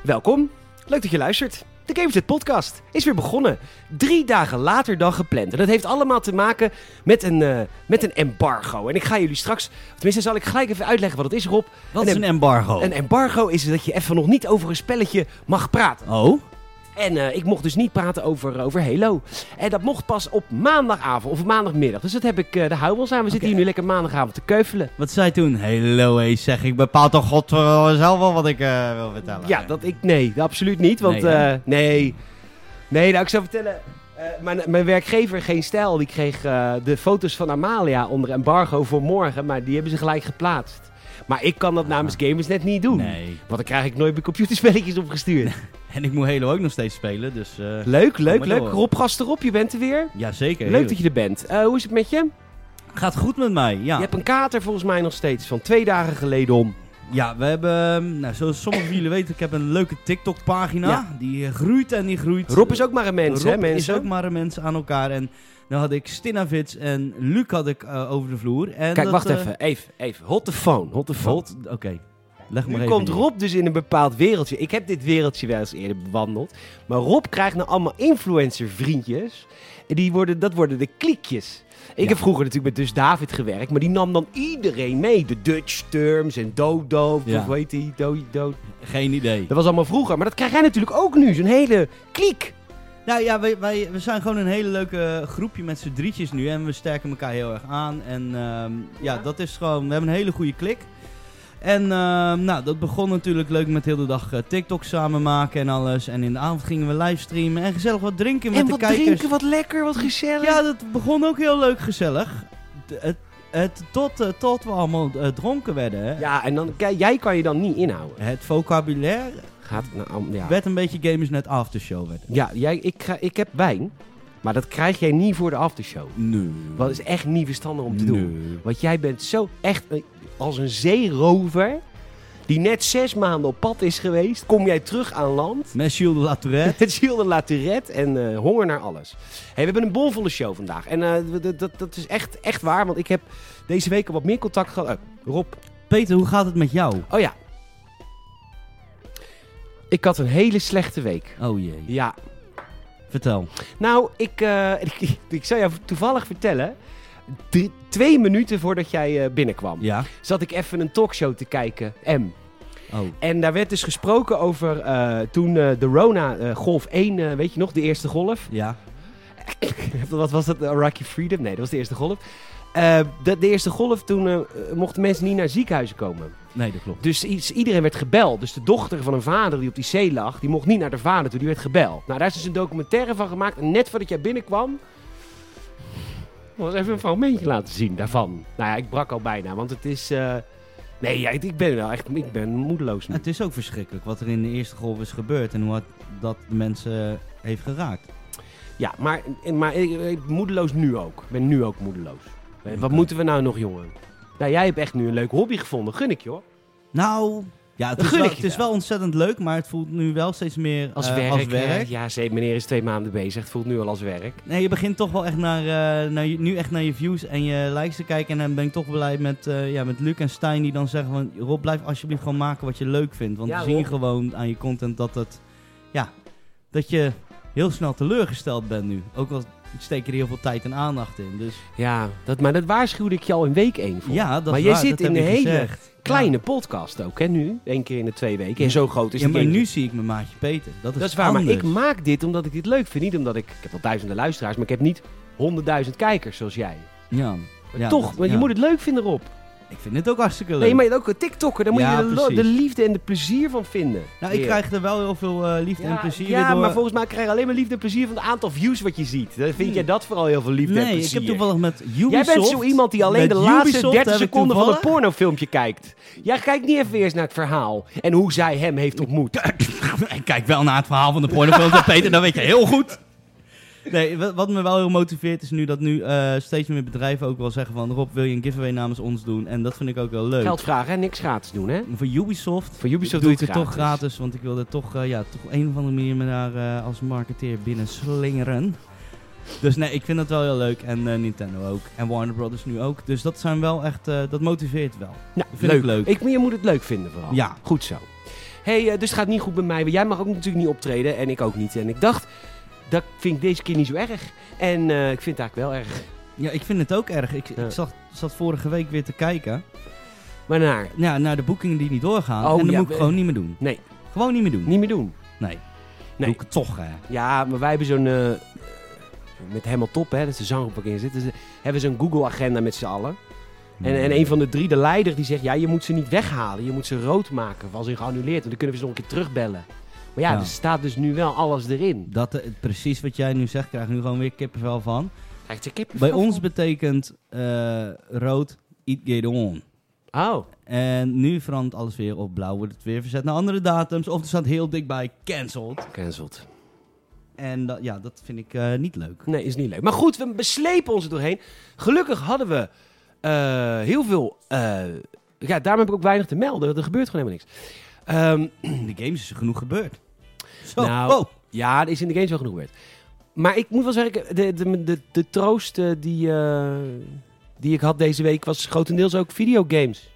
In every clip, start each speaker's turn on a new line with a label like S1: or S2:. S1: Welkom, leuk dat je luistert. De Gameset podcast is weer begonnen. Drie dagen later dan gepland. En dat heeft allemaal te maken met een, eh, met een embargo. En ik ga jullie straks, tenminste zal ik gelijk even uitleggen wat het is Rob.
S2: Wat is
S1: em-
S2: een embargo?
S1: Een embargo is dat je even nog niet over een spelletje mag praten.
S2: Oh?
S1: En eh, ik mocht dus niet praten over, over Halo. En dat mocht pas op maandagavond of maandagmiddag. Dus dat heb ik eh de huiwels aan. We zitten
S2: Oké.
S1: hier nu lekker maandagavond te keuvelen.
S2: Wat zei toen? Hello, hé, zeg, ik bepaal toch god zelf wel wat ik eh, wil vertellen.
S1: Ja, dat ik. Nee, absoluut niet. Want
S2: Nee, hè?
S1: eh, nee. Nee, nou, ik zou vertellen. eh, mijn, mijn werkgever, geen stijl, die kreeg eh, de foto's van Amalia onder embargo voor morgen. Maar die hebben ze gelijk geplaatst. Maar ik kan dat namens gamers net niet doen.
S2: Ah. Nee.
S1: Want dan krijg ik nooit mijn computerspelletjes opgestuurd.
S2: En ik moet Halo ook nog steeds spelen, dus... eh
S1: Leuk, leuk,
S2: maar
S1: leuk.
S2: door.
S1: Rob, gast erop, je bent er weer.
S2: Jazeker.
S1: Leuk dat je er bent. Eh, hoe is het met je?
S2: Gaat goed met mij, ja.
S1: Je hebt een kater volgens mij nog steeds van twee dagen geleden om.
S2: Ja, we hebben... ehm, Nou, zoals sommigen van jullie weten, ik heb een leuke TikTok-pagina.
S1: Ja.
S2: Die eh, groeit en die groeit.
S1: Rob is ook maar een mens,
S2: Rob
S1: hè mensen?
S2: is ook maar een mens aan elkaar. En dan had ik Stinnavits en Luc had ik eh, over de vloer. En
S1: Kijk,
S2: dat,
S1: wacht
S2: eh,
S1: even, even, even. Hot the phone, hot the phone.
S2: Volt, oké. Leg maar
S1: Nu
S2: even
S1: komt
S2: neer.
S1: Rob dus in een bepaald wereldje. Ik heb dit wereldje wel eens eerder bewandeld. Maar Rob krijgt nou allemaal influencer vriendjes. En die worden, dat worden de kliekjes. Ik
S2: Ja.
S1: heb vroeger natuurlijk met Dus David gewerkt. Maar die nam dan iedereen mee. De Dutch Terms en Dodo. of
S2: Ja.
S1: Hoe heet die? Do, do.
S2: Geen idee.
S1: Dat was allemaal vroeger. Maar dat krijg jij natuurlijk ook nu. Zo'n hele kliek.
S2: Nou ja, wij, wij, we zijn gewoon een hele leuke groepje met z'n drietjes nu. En we sterken elkaar heel erg aan. En ehm, ja, dat is gewoon... We hebben een hele goede klik. En ehm, nou, dat begon natuurlijk leuk met heel de dag eh, TikTok samen maken en alles. En in de avond gingen we livestreamen en gezellig wat drinken met
S1: en
S2: de
S1: wat
S2: kijkers.
S1: drinken, wat lekker, wat gezellig.
S2: Ja, dat begon ook heel leuk gezellig. D- het, het, tot, eh, tot we allemaal eh, dronken werden. hè.
S1: Ja, en dan, kijk, jij kan je dan niet inhouden.
S2: Het vocabulaire
S1: Gaat, nou, am- ja.
S2: werd een beetje Gamers Net Aftershow werd.
S1: Ja, jij, ik, ga- ik heb wijn. Maar dat krijg jij niet voor de aftershow.
S2: Nee.
S1: Wat is echt niet verstandig om te doen. Want jij bent zo echt een- als een zeerover. Die net zes maanden op pad is geweest. Kom jij terug aan land.
S2: Monsieur de Latourette.
S1: Het ziel de La Tourette en eh, honger naar alles. Hey, we hebben een bomvolle show vandaag. En eh, we- dat, dat, dat is echt, echt waar. Want ik heb deze week al wat meer contact gehad. Eh, Rob.
S2: Peter, hoe gaat het met jou?
S1: Oh ja. Ik had een hele slechte week.
S2: Oh jee.
S1: Ja,
S2: Vertel.
S1: Nou, ik, eh, ik, ik zou jou toevallig vertellen. drie- twee minuten voordat jij eh, binnenkwam,
S2: Ja?
S1: zat ik even een talkshow te kijken, M.
S2: Oh.
S1: En daar werd dus gesproken over eh, toen eh, de Rona eh, Golf 1, eh, weet je nog, de eerste golf.
S2: Ja.
S1: Wat was dat? Rocky Freedom? Nee, dat was de eerste golf. Eh, de, de eerste golf, toen eh, mochten mensen niet naar ziekenhuizen komen.
S2: Nee, dat klopt.
S1: Dus iets- iedereen werd gebeld. Dus de dochter van een vader die op die zee lag, die mocht niet naar de vader toe, die werd gebeld. Nou, daar is dus een documentaire van gemaakt. En net voordat jij binnenkwam, was even een fragmentje laten zien daarvan. Nou ja, ik brak al bijna, want het is... eh, Nee, ja, ik- ik ben wel echt ik ben moedeloos nu.
S2: Het is ook verschrikkelijk wat er in de eerste golf is gebeurd en hoe het- dat de mensen eh, heeft geraakt.
S1: Ja, maar, maar ik, ik- moedeloos nu ook. Ik ben nu ook moedeloos. Eh, Wat
S2: Oké.
S1: moeten we nou nog, jongen? Nou, jij hebt echt nu een leuk hobby gevonden. Gun ik je, hoor.
S2: Nou, ja, het is,
S1: Gun
S2: wel,
S1: ik je
S2: het is
S1: wel.
S2: wel ontzettend leuk, maar het voelt nu wel steeds meer
S1: Als
S2: eh,
S1: werk.
S2: als
S1: eh,
S2: werk.
S1: ja, ze- meneer is twee maanden bezig. Het voelt nu al als werk.
S2: Nee, je begint toch wel echt naar, eh, naar je, nu echt naar je views en je likes te kijken. En dan ben ik toch blij met, eh, ja, met Luc en Stijn die dan zeggen van... Rob, blijf alsjeblieft gewoon maken wat je leuk vindt. Want
S1: Ja,
S2: we zien
S1: Rob.
S2: gewoon aan je content dat het... Ja, dat je heel snel teleurgesteld bent nu. Ook al steek er heel veel tijd en aandacht in. Dus
S1: Ja, dat, maar dat waarschuwde ik je al in week 1 voor.
S2: ja, dat
S1: maar
S2: is
S1: jij
S2: waar,
S1: zit
S2: dat
S1: in
S2: heb
S1: een
S2: ik
S1: hele
S2: gezegd.
S1: Kleine podcast ook, hè, nu. Eén keer in de twee weken. En zo groot
S2: Ja.
S1: is
S2: Ja,
S1: het
S2: maar
S1: niet.
S2: nu zie ik mijn maatje Peter. Dat is,
S1: Dat is waar, maar ik
S2: anders.
S1: maak dit omdat ik dit leuk vind. Niet omdat ik... Ik heb al duizenden luisteraars, maar ik heb niet honderdduizend kijkers zoals jij.
S2: Ja.
S1: Maar
S2: Ja,
S1: toch,
S2: dat-
S1: want je
S2: ja.
S1: moet het leuk vinden, Rob.
S2: Ik vind het ook hartstikke leuk.
S1: Nee, maar je bent ook een TikToker. Daar moet
S2: Ja,
S1: je de, lo- de
S2: precies.
S1: liefde en de plezier van vinden.
S2: nou, ik
S1: Weer.
S2: krijg er wel heel veel eh, liefde en
S1: Ja,
S2: plezier
S1: ja
S2: door.
S1: maar volgens mij krijg je alleen maar liefde en plezier van het aantal views wat je ziet. Dan vind jij dat vooral heel veel liefde en
S2: Nee,
S1: plezier.
S2: ik heb toevallig met Ubisoft...
S1: Jij bent zo iemand die alleen
S2: met
S1: de laatste
S2: Ubisoft
S1: 30
S2: heb ik
S1: seconden van een
S2: toevallig-
S1: pornofilmpje kijkt. Jij kijkt niet even eerst naar het verhaal en hoe zij hem heeft ontmoet.
S2: ik kijk wel naar het verhaal van de pornofilm van Peter, dat weet je heel goed. Nee, wa- wat me wel heel motiveert is nu dat nu eh, steeds meer bedrijven ook wel zeggen van... Rob, wil je een giveaway namens ons doen? En dat vind ik ook wel leuk.
S1: Geld vragen en niks gratis doen, hè?
S2: Voor Ubisoft,
S1: Voor Ubisoft
S2: doe
S1: doe
S2: ik
S1: je
S2: het
S1: het
S2: toch gratis, want ik wil er toch, eh, ja, toch op een of andere manier me daar eh, als marketeer binnen slingeren. Dus nee, ik vind dat wel heel leuk. En eh, Nintendo ook. En Warner Brothers nu ook. Dus dat zijn wel echt, eh, dat motiveert wel.
S1: Nou,
S2: Vind ik leuk.
S1: Ik, je moet het leuk vinden vooral.
S2: Ja.
S1: Goed zo. hey, eh, dus het gaat niet goed met mij. maar Jij mag ook natuurlijk niet optreden. En ik ook niet. En ik dacht, dat vind ik deze keer niet zo erg. En eh, ik vind het eigenlijk wel erg.
S2: Ja, ik vind het ook erg. Ik,
S1: Ja.
S2: ik zat, zat vorige week weer te kijken
S1: Maar naar,
S2: ja, naar de boekingen die niet doorgaan.
S1: Oh,
S2: en dat
S1: ja,
S2: moet ik
S1: we-
S2: gewoon niet meer doen.
S1: nee,
S2: Gewoon niet meer doen.
S1: niet meer doen.
S2: Nee.
S1: Nee.
S2: Doe ik het toch, hè.
S1: Ja, maar wij hebben zo'n... eh, met helemaal top, hè. Dat is de zanggroep waar ik in zit. Dus, eh, hebben zo'n Google-agenda met z'n allen. En,
S2: Hmm.
S1: en een van de drie, de leider, die zegt... Ja, je moet ze niet weghalen. Je moet ze rood maken. Of als in geannuleerd. En dan kunnen we ze nog een keer terugbellen. Maar ja,
S2: Ja.
S1: er staat dus nu wel alles erin.
S2: Dat, eh, precies wat jij nu zegt, krijg ik nu gewoon weer kippenvel van.
S1: Krijgt ze kippenvel
S2: Bij ons
S1: van?
S2: betekent eh, rood, it get on.
S1: Oh,
S2: En nu verandert alles weer op blauw, wordt het weer verzet naar andere datums. Of er staat heel dik bij, cancelled.
S1: cancelled.
S2: En dat, ja, dat vind ik eh, niet leuk.
S1: Nee, is niet leuk. Maar goed, we beslepen ons er doorheen. Gelukkig hadden we eh, heel veel. eh, ja, daarom heb ik ook weinig te melden. Er gebeurt gewoon helemaal niks. Ehm,
S2: In de games is er genoeg gebeurd. Zo,
S1: Nou,
S2: wow.
S1: ja, er is in de games wel genoeg gebeurd. Maar ik moet wel zeggen, de, de, de, de troost eh, die, eh, die ik had deze week was grotendeels ook videogames.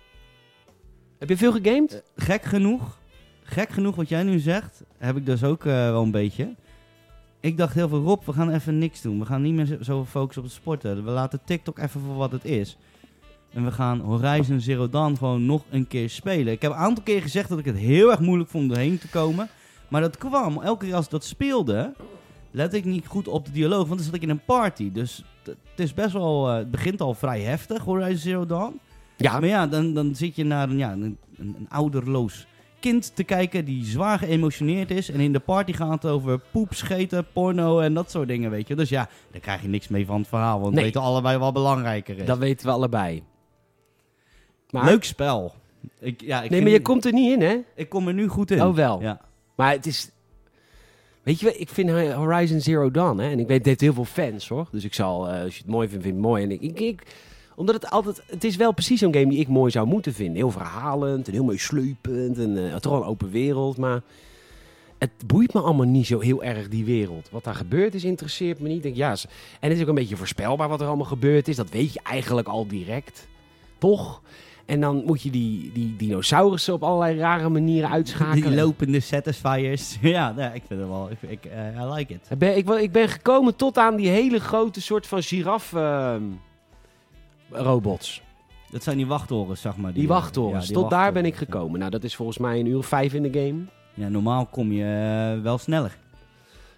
S1: Heb je veel gegamed?
S2: Eh, gek genoeg, gek genoeg wat jij nu zegt, heb ik dus ook eh, wel een beetje. Ik dacht heel veel, Rob, we gaan even niks doen. We gaan niet meer zo- zo focussen op het sporten. We laten TikTok even voor wat het is. En we gaan Horizon Zero Dawn gewoon nog een keer spelen. Ik heb een aantal keer gezegd dat ik het heel erg moeilijk vond erheen te komen. Maar dat kwam, elke keer als ik dat speelde, let ik niet goed op de dialoog. Want dan zat ik in een party. Dus t- het is best wel, eh, het begint al vrij heftig, Horizon Zero Dawn.
S1: ja.
S2: Ah, Maar ja, dan, dan zit je naar een, ja, een, een, een ouderloos kind te kijken die zwaar geëmotioneerd is. En in de party gaat het over poep, scheten, porno en dat soort dingen, weet je. Dus ja, daar krijg je niks mee van het verhaal, want we
S1: Nee.
S2: weten allebei wat belangrijker is.
S1: Dat weten we allebei. Maar,
S2: Leuk spel. Ik, ja, ik
S1: nee,
S2: vind-
S1: maar je komt er niet in, hè?
S2: Ik kom er nu goed in.
S1: Oh, wel.
S2: Ja.
S1: Maar het is. Weet je, wel, ik vind Horizon Zero Dawn, hè, en ik weet, het heeft heel veel fans hoor. Dus ik zal, eh, als je het mooi vindt, vind ik het mooi. En ik, ik, ik- omdat het altijd, het is wel precies zo'n game die ik mooi zou moeten vinden. Heel verhalend en heel mooi sleupend en eh toch wel een open wereld. Maar het boeit me allemaal niet zo heel erg, die wereld. Wat daar gebeurd is, interesseert me niet. Ik Denk, ja, ze- en het is ook een beetje voorspelbaar wat er allemaal gebeurd is. Dat weet je eigenlijk al direct, toch? En dan moet je die, die dinosaurussen op allerlei rare manieren uitschakelen.
S2: Die lopende satisfiers. ja, nee, ik vind het wel. Ik, ik, eh, I like it.
S1: Ik ben, ik, ben- ik ben gekomen tot aan die hele grote soort van ehm, giraf-robots.
S2: Dat zijn die wachttorens, zeg maar.
S1: die wachttorens.
S2: ja, die
S1: tot daar ben ik
S2: wachttorens, ja.
S1: gekomen. Nou, dat is volgens mij een uur of vijf in de game.
S2: Ja, normaal kom je eh, wel sneller.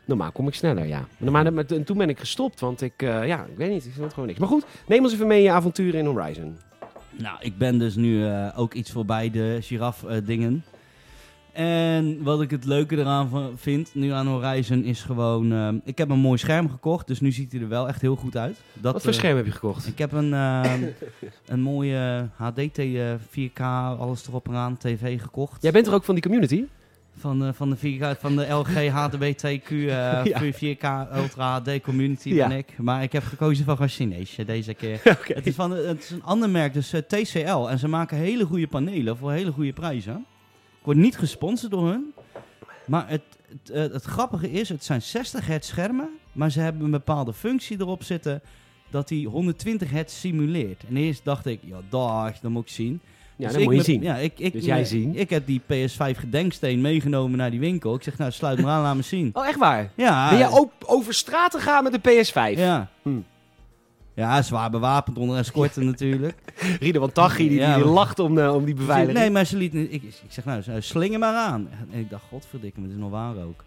S1: Normaal kom ik sneller, ja. Maar, maar- maar- en toen ben ik gestopt, want ik, eh, ja, ik weet niet, ik vond het gewoon niks. Maar goed, neem ons even mee in je avonturen in Horizon.
S2: Nou, ik ben dus nu eh, ook iets voorbij de giraf-dingen. en wat ik het leuke eraan van- vind, nu aan Horizon, is gewoon... ehm, ik heb een mooi scherm gekocht, dus nu ziet hij er wel echt heel goed uit. Dat,
S1: Wat voor
S2: eh,
S1: scherm heb je gekocht?
S2: Ik heb een, ehm, een mooie HDT eh, 4K, alles erop en aan, tv gekocht.
S1: Jij bent er ook van die community?
S2: Van, de, van, de 4K, van de LG HDBTQ eh, 4K Ultra HD Community
S1: Ja.
S2: ben ik. Maar ik heb gekozen van gewoon Chinees eh, deze keer.
S1: Oké.
S2: Het is, van, het is een ander merk, dus eh, TCL. En ze maken hele goede panelen voor hele goede prijzen. Ik word niet gesponsord door hun. Maar het, het, eh, het grappige is, het zijn 60 hertz schermen. Maar ze hebben een bepaalde functie erop zitten dat die 120 hertz simuleert. En eerst dacht ik, ja dag, dat moet ik zien.
S1: Ja,
S2: Dus
S1: dat
S2: ik
S1: moet je
S2: met-
S1: zien.
S2: Ja, ik, ik,
S1: Dus jij
S2: eh,
S1: zien.
S2: Ik heb die PS5 gedenksteen meegenomen naar die winkel. Ik zeg, nou sluit maar aan, laat me zien.
S1: Oh, echt waar?
S2: Ja,
S1: ben jij ook over straat te gaan met de PS5?
S2: Ja. Hmm.
S1: Hm.
S2: Ja, zwaar bewapend onder escorte natuurlijk.
S1: Rieder van Tachi, die, die,
S2: Ja,
S1: die
S2: maar-
S1: lacht om, eh, om die beveiliging.
S2: Nee, maar ze liet... niet- Ik, ik zeg nou, ze- slinger maar aan. En ik dacht, godverdikke, het is nog waar ook.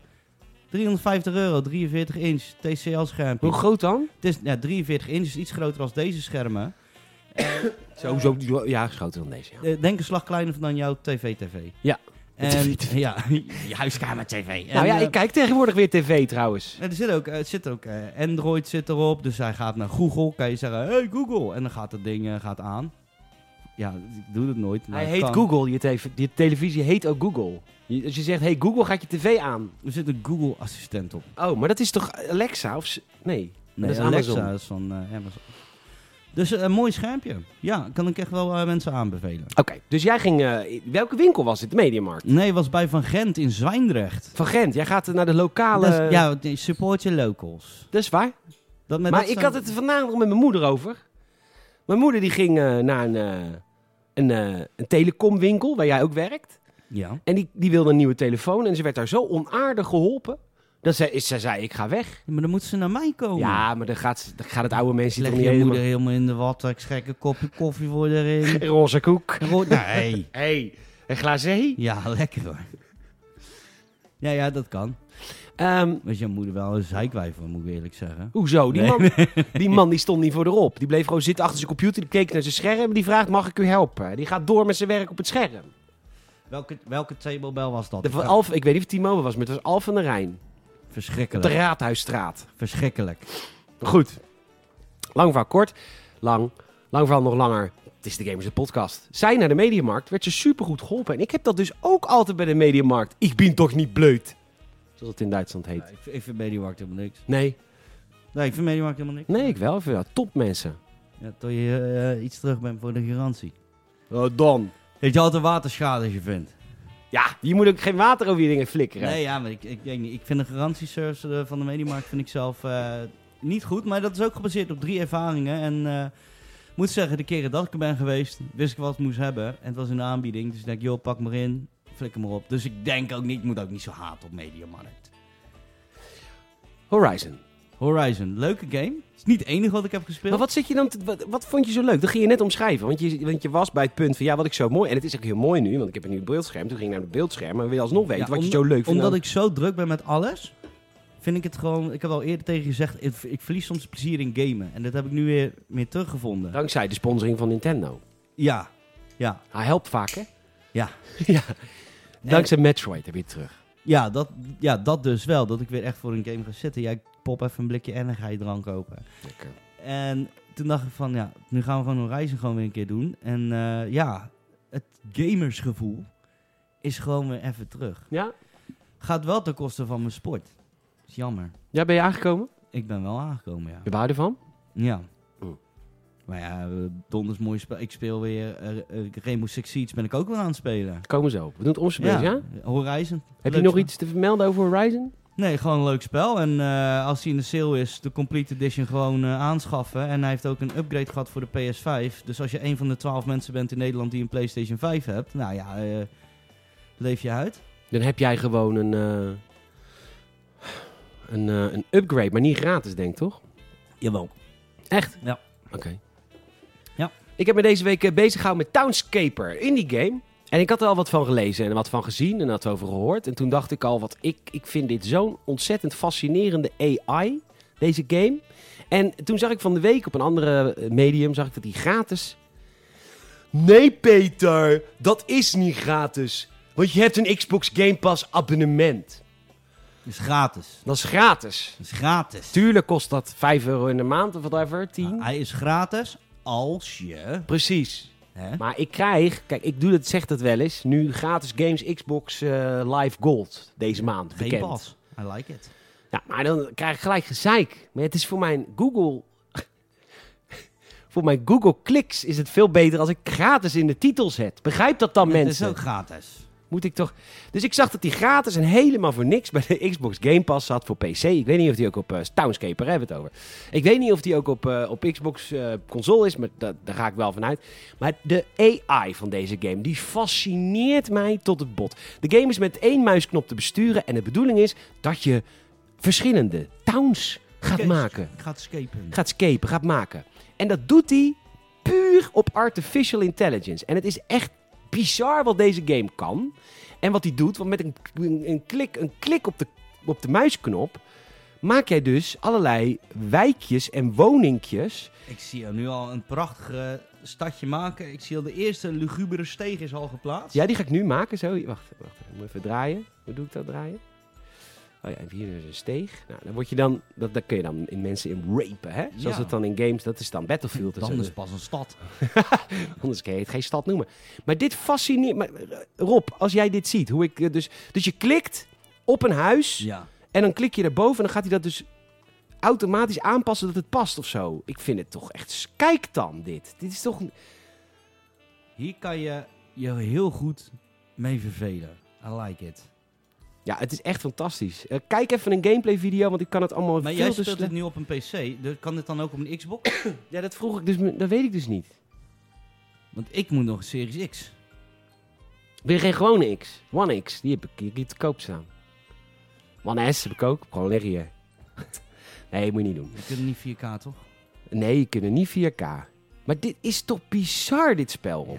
S2: 350 euro, 43 inch, TCL schermpje.
S1: Hoe groot dan?
S2: Het is, ja, 43 inch is iets groter als deze schermen.
S1: Zo, zo, zo- ja, groter dan deze, ja.
S2: Eh, denk een slag kleiner dan jouw tv-tv.
S1: Ja.
S2: En, ja, je huiskamer-tv.
S1: Nou ja, ik kijk tegenwoordig weer tv trouwens.
S2: Er zit ook, eh, het zit ook eh, Android zit erop, dus hij gaat naar Google. Kan je zeggen, hey Google. En dan gaat dat ding eh, gaat aan. Ja, ik doe het nooit. maar
S1: Hij
S2: het
S1: heet
S2: kan.
S1: Google, je, tv je televisie heet ook Google. Je- als je zegt, hey Google, gaat je tv aan?
S2: Er zit een Google assistent op.
S1: Oh, maar dat is toch Alexa? Of s- nee.
S2: Nee,
S1: Dat is
S2: Alexa
S1: Amazon.
S2: is van eh, Amazon. Dus eh, een mooi schermpje. Ja, kan ik echt wel eh, mensen aanbevelen.
S1: Oké, dus jij ging... eh, welke winkel was dit? De Mediamarkt?
S2: Nee, was bij Van Gent in Zwijndrecht.
S1: Van Gent, jij gaat naar de lokale...
S2: Dat is- ja, nee, support je locals.
S1: Dat is waar.
S2: Dat, met
S1: maar
S2: dat
S1: ik
S2: zijn-
S1: had het er vanavond nog met mijn moeder over. Mijn moeder die ging eh, naar een, eh, een, eh, een telecomwinkel, waar jij ook werkt.
S2: Ja.
S1: En die, die wilde een nieuwe telefoon. En ze werd daar zo onaardig geholpen. Dat ze, ze zei, ik ga weg.
S2: Maar dan moet ze naar mij komen.
S1: Ja, maar dan gaat, ze- dan gaat het oude mensen
S2: Oh, Leg
S1: toch
S2: je
S1: niet
S2: moeder
S1: helemaal...
S2: helemaal in de wat. Ik schrek een kopje koffie voor erin.
S1: Roze koek.
S2: nee.
S1: hey, een glazé.
S2: Ja, lekker hoor. Ja, ja, dat kan.
S1: Ehm,
S2: Was jouw moeder wel een zeikwijf, hoor, moet ik eerlijk zeggen.
S1: hoezo? Die,
S2: Nee.
S1: man, die man die stond niet voor erop. Die bleef gewoon zitten achter zijn computer. Die keek naar zijn scherm. Die vraagt, mag ik u helpen? Die gaat door met zijn werk op het scherm.
S2: Welke, welke Tebelbel was dat?
S1: De, van Alf, ik weet niet of het Timo was, maar het was Alf van de Rijn. Op de
S2: Verschrikkelijk.
S1: Raadhuisstraat.
S2: Verschrikkelijk.
S1: Goed. Lang verhaal kort. Lang. Lang verhaal nog langer. Het is de Gamers Podcast. Zij naar de Mediamarkt werd ze supergoed geholpen. En ik heb dat dus ook altijd bij de Mediamarkt. Ik ben toch niet bleut. Zoals het in Duitsland heet.
S2: Ja, ik, ik vind Mediamarkt helemaal niks.
S1: Nee.
S2: Nee, ik vind Mediamarkt helemaal niks.
S1: Nee, ik wel. Ik vind dat top mensen.
S2: Ja, tot je eh, iets terug bent voor de garantie. Oh,
S1: dan.
S2: Heeft je altijd waterschade als je vindt?
S1: Ja, je moet ook geen water over je dingen flikkeren.
S2: Nee, ja, maar ik, ik, weet niet. ik vind de garantieservice eh, van de Mediamarkt vind ik zelf eh, niet goed. Maar dat is ook gebaseerd op drie ervaringen. En eh, ik moet zeggen, de keren dat ik er ben geweest, wist ik wat ik moest hebben. En het was in de aanbieding. Dus ik denk, joh, pak maar in, flikker maar op. Dus ik denk ook niet, ik moet ook niet zo haat op Mediamarkt.
S1: Horizon.
S2: Horizon, leuke game. Het is niet het enige wat ik heb gespeeld.
S1: Maar wat, zit je dan te- wat, wat vond je zo leuk? Dat ging je net omschrijven. Want je, want je was bij het punt van ja, wat ik zo mooi. En het is ook heel mooi nu, want ik heb een nieuw beeldscherm. Toen ging ik naar het beeldscherm. Maar wil je alsnog weten
S2: Ja,
S1: wat je
S2: om-
S1: zo leuk vindt.
S2: Omdat ik zo druk ben met alles, vind ik het gewoon... Ik heb al eerder tegen je gezegd, ik, ik verlies soms plezier in gamen. En dat heb ik nu weer meer teruggevonden.
S1: Dankzij de sponsoring van Nintendo.
S2: Ja, ja,
S1: Hij helpt vaak, hè?
S2: Ja.
S1: ja. Dankzij Metroid heb je het terug.
S2: ja dat, ja, dat dus wel. Dat ik weer echt voor een game ga zitten. Ja, ik pop even een blikje en dan ga je drank kopen.
S1: Lekker.
S2: En toen dacht ik van, ja, nu gaan we gewoon Horizon gewoon weer een keer doen. En eh, ja, het gamersgevoel is gewoon weer even terug.
S1: Ja?
S2: Gaat wel ten koste van mijn sport. Is jammer.
S1: Ja, ben je aangekomen?
S2: Ik ben wel aangekomen, ja.
S1: Je bouwt ervan?
S2: Ja.
S1: Mm.
S2: Maar ja, eh, donders mooi spel. Ik speel weer eh eh, Rainbow Six Siege ben ik ook wel aan het spelen.
S1: Komen zo. We doen het omspelen, ja?
S2: Horizon.
S1: Heb je
S2: Leuk
S1: nog
S2: spel.
S1: iets te vermelden over Horizon?
S2: Nee, gewoon een leuk spel. En eh, als hij in de sale is, de Complete Edition gewoon eh, aanschaffen. En hij heeft ook een upgrade gehad voor de PS5. Dus als je een van de twaalf mensen bent in Nederland die een PlayStation 5 hebt, nou ja, eh, leef je uit.
S1: Dan heb jij gewoon een, eh, een, eh, een upgrade, maar niet gratis, denk ik, toch?
S2: Jawel.
S1: Echt?
S2: Ja.
S1: Oké.
S2: Ja.
S1: Ik heb me deze week eh, bezig gehouden met Townscaper in die game. En ik had er al wat van gelezen en wat van gezien en wat over gehoord. En toen dacht ik al, wat ik, ik vind dit zo'n ontzettend fascinerende AI, deze game. En toen zag ik van de week op een andere eh, medium, zag ik dat die gratis... Nee Peter, dat is niet gratis. Want je hebt een Xbox Game Pass abonnement.
S2: Dat is gratis.
S1: Dat is gratis.
S2: Dat is gratis.
S1: Tuurlijk kost dat 5 euro in de maand of whatever, 10.
S2: Hij is gratis als je...
S1: Precies.
S2: Hè?
S1: Maar ik krijg, kijk, ik doe dat, zeg dat wel eens, nu gratis games Xbox eh, Live Gold deze maand
S2: Geen
S1: bekend.
S2: pas. I like it.
S1: Ja, maar dan krijg ik gelijk gezeik. Maar het is voor mijn Google, voor mijn Google Clicks is het veel beter als ik gratis in de titel zet. Begrijp dat dan
S2: Het is
S1: mensen?
S2: ook gratis.
S1: Moet ik toch? Dus ik zag dat die gratis en helemaal voor niks bij de Xbox Game Pass zat voor PC. Ik weet niet of die ook op eh, Townscaper hebben we het over. Ik weet niet of die ook op, eh, op Xbox eh, console is, maar dat, daar ga ik wel vanuit. Maar de AI van deze game, die fascineert mij tot het bot. De game is met één muisknop te besturen en de bedoeling is dat je verschillende towns gaat
S2: Oké,
S1: maken.
S2: Ik ga het escapen.
S1: Gaat scapen, gaat maken. En dat doet hij puur op artificial intelligence. En het is echt bizar wat deze game kan. En wat hij doet, want met een, een, een klik, een klik op, de, op de muisknop... maak jij dus allerlei wijkjes en woningjes.
S2: Ik zie jou nu al een prachtig eh, stadje maken. Ik zie al de eerste lugubere steeg is al geplaatst.
S1: Ja, die ga ik nu maken zo. Wacht, wacht ik moet even draaien. Hoe doe ik dat draaien? Oh ja, en hier is een steeg. Nou, dan word je dan... Dat, daar kun je dan in mensen in rapen, hè? Zoals
S2: Ja.
S1: het dan in games... Dat is dan Battlefield. en
S2: Dan
S1: zo.
S2: is pas een stad.
S1: Anders kan je het geen stad noemen. Maar dit fascineert. Maar eh, Rob, als jij dit ziet, hoe ik eh, dus. Dus je klikt op een huis.
S2: Ja.
S1: En dan klik je daarboven. En dan gaat hij dat dus automatisch aanpassen dat het past of zo. Ik vind het toch echt. s- Kijk dan dit. Dit is toch. een-
S2: Hier kan je je heel goed mee vervelen. I like it.
S1: Ja, het is echt fantastisch. Eh, kijk even een gameplay video, want ik kan het allemaal.
S2: Maar
S1: veel
S2: jij
S1: te
S2: speelt
S1: sle-
S2: het nu op een PC. Dus kan dit dan ook op een Xbox?
S1: Ja, dat vroeg ik dus. me- Dat weet ik dus niet.
S2: Want ik moet nog een Series X.
S1: Weer geen gewone X. One X. Die heb ik hier hier te koop staan. One S heb ik ook. Gewoon liggen hier. nee, moet je niet doen.
S2: Je kunt niet 4K, toch?
S1: Nee, je kunt er niet 4K. Maar dit is toch bizar, dit spel. Rob?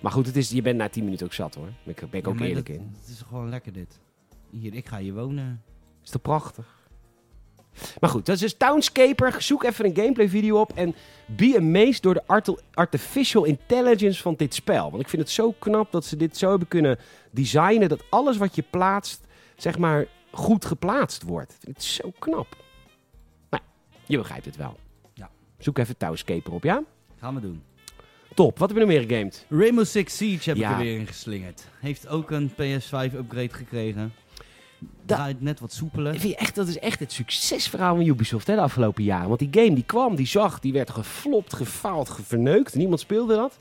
S1: Maar goed, het is, je bent na 10 minuten ook zat hoor. Daar ben ik- ben ik
S2: Ja,
S1: ook
S2: maar
S1: eerlijk
S2: dat-
S1: in.
S2: Het is gewoon lekker dit. Hier, ik ga hier wonen.
S1: Is toch prachtig? Maar goed, dat is dus Townscaper. Zoek even een gameplay video op en be amazed door de artel- artificial intelligence van dit spel. Want ik vind het zo knap dat ze dit zo hebben kunnen designen dat alles wat je plaatst, zeg maar, goed geplaatst wordt. Ik vind het zo knap. Maar ja, je begrijpt het wel.
S2: Ja.
S1: Zoek even Townscaper op, ja?
S2: Gaan we doen.
S1: Top, wat hebben we nog meer gegamed?
S2: Rainbow Six Siege heb
S1: Ja.
S2: ik er weer in geslingerd. Heeft ook een PS5 upgrade gekregen. Draait net wat soepeler.
S1: Ik vind echt, dat is echt het succesverhaal van Ubisoft hè, de afgelopen jaren. Want die game die kwam, die zag, die werd geflopt, gefaald, geverneukt. Niemand speelde dat.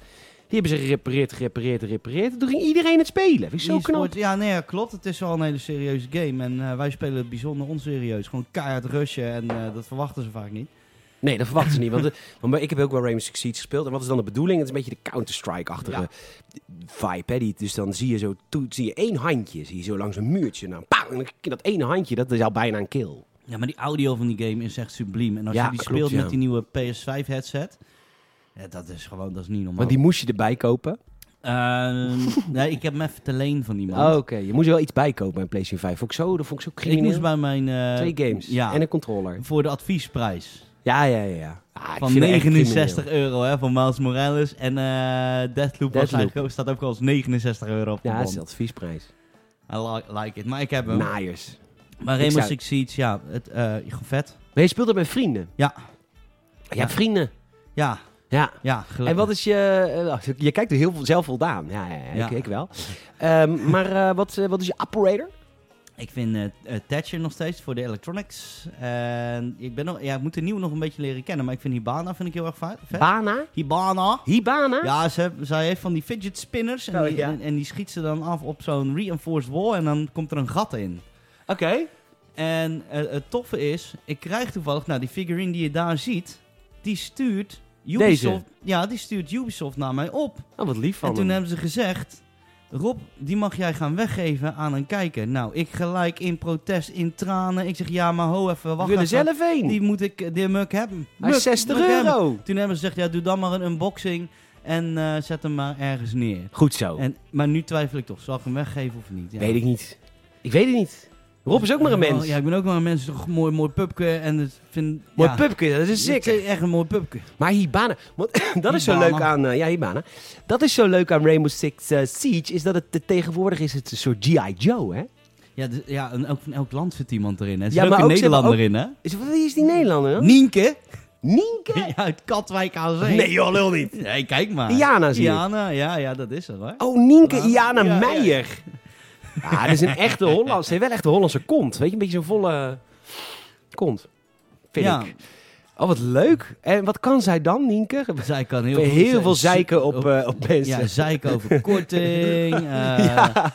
S1: Die hebben ze gerepareerd, gerepareerd, gerepareerd. En Toen ging iedereen het spelen. Vind ik zo knap.
S2: E-sport- Ja, nee, ja, klopt. Het is wel een hele serieuze game. En eh, wij spelen het bijzonder onserieus. Gewoon keihard rushen. En eh, dat verwachten ze vaak niet.
S1: Nee, dat verwachten ze niet. Want, de- want maar ik heb ook wel Rainbow Six Siege gespeeld. En wat is dan de bedoeling? Het is een beetje de Counter-Strike-achtige
S2: Ja.
S1: vibe. Hè? Die, dus dan zie je zo toe- zie je één handje. Zie je zo langs een muurtje. Nou, pow, en dan- dat ene handje, dat is al bijna een kill.
S2: Ja, maar die audio van die game is echt subliem. En als
S1: Ja,
S2: je die
S1: klopt,
S2: speelt
S1: ja.
S2: met die nieuwe PS5 headset. Ja, dat is gewoon, dat is niet normaal.
S1: Want die moest je erbij kopen.
S2: Ehm, nee, ik heb hem even te leen van iemand.
S1: Oh, Oké, je moest er wel iets bij kopen bij een PlayStation 5. Vond ik zo, dat vond ik zo
S2: ik
S1: crimineel.
S2: moest bij mijn... eh,
S1: Twee games
S2: Ja,
S1: en een controller.
S2: voor de adviesprijs.
S1: Ja, ja, ja. ja. Ah, ik
S2: Van
S1: vind het echt
S2: 69 euro hè, van Miles Morales. En eh Deathloop, was
S1: Deathloop.
S2: eigenlijk- staat ook als 69 euro op de
S1: crimineel. Ja, dat is
S2: band.
S1: de adviesprijs.
S2: I like, like it. Maar ik heb hem.
S1: Naaiers.
S2: Maar
S1: Ik
S2: Rainbow
S1: zou-
S2: Six Siege, ja, het, eh vet.
S1: Maar je speelt dat met vrienden?
S2: Ja.
S1: Je
S2: Ja.
S1: hebt vrienden.
S2: Ja,
S1: Ja.
S2: ja, gelukkig.
S1: En wat is je... eh, Je kijkt er heel veel zelf voldaan. Ja, ja, ja,
S2: Ja.
S1: Ik, ik wel. Ehm, maar eh, wat, eh, wat is je operator?
S2: Ik vind eh eh, Thatcher nog steeds voor de electronics. En ik ben nog, ja, ik moet de nieuwe nog een beetje leren kennen, maar ik vind Hibana vind ik heel erg va- vet.
S1: Bana?
S2: Hibana.
S1: Hibana?
S2: Ja, ze, heb- zij heeft van die fidget spinners en,
S1: Oh,
S2: die,
S1: ja.
S2: en, en die schiet ze dan af op zo'n reinforced wall en dan komt er een gat in.
S1: Oké.
S2: En eh, het toffe is, ik krijg toevallig, nou die figurine die je daar ziet, die stuurt Ubisoft, ja, die stuurt Ubisoft naar mij op.
S1: Oh, wat lief van
S2: En toen
S1: hem.
S2: hebben ze gezegd: Rob, die mag jij gaan weggeven aan een kijker. Nou, ik gelijk in protest, in tranen. Ik zeg: Ja, maar ho, even
S1: We
S2: wacht.
S1: willen
S2: even.
S1: zelf één.
S2: Die moet ik, die muk hebben.
S1: Hij is
S2: Muk,
S1: 60
S2: muk hebben.
S1: euro.
S2: Toen hebben ze gezegd: Ja, doe dan maar een unboxing en eh, zet hem maar ergens neer.
S1: Goed zo.
S2: En, maar nu twijfel ik toch: zal ik hem weggeven of niet? Ja.
S1: Weet ik niet. Ik weet het niet. Rob is ook maar een
S2: Ja,
S1: mens.
S2: Ja, ik ben ook maar een mens. Toch mooi, mooi pupke. En het vind,
S1: Mooi
S2: ja,
S1: pupke, dat is
S2: Het
S1: zeker.
S2: is echt een mooi pupke.
S1: Maar Hibana, want dat is zo
S2: Hibana.
S1: leuk aan, eh, ja Hibana, dat is zo leuk aan Rainbow Six eh, Siege, is dat het eh, tegenwoordig is het een soort G.I. Joe, hè?
S2: Ja, dus, ja en ook van elk land zit iemand erin. Hè. Er
S1: Ja,
S2: zit ook
S1: maar
S2: een
S1: ook- ze hebben
S2: Nederlander in, hè?
S1: Is, wat is die Nederlander dan?
S2: Nienke.
S1: Nienke?
S2: Ja, uit Katwijk aan Zee.
S1: Nee joh, lul niet.
S2: Nee, kijk maar.
S1: Iana zie ik.
S2: Iana, ja, ja, dat is het hoor.
S1: Oh, Nienke
S2: Ja,
S1: Iana
S2: ja, ja.
S1: Meijer. Ah, dat is een echte Hollandse, heeft wel echt een Hollandse kont, weet je, een beetje zo'n volle kont, vind
S2: Ja.
S1: ik. Oh, wat leuk. En wat kan zij dan, Nienke?
S2: Zij kan heel,
S1: Heel,
S2: goed- zij-
S1: veel zeiken op, eh, op mensen.
S2: Ja, zeiken over korting. eh,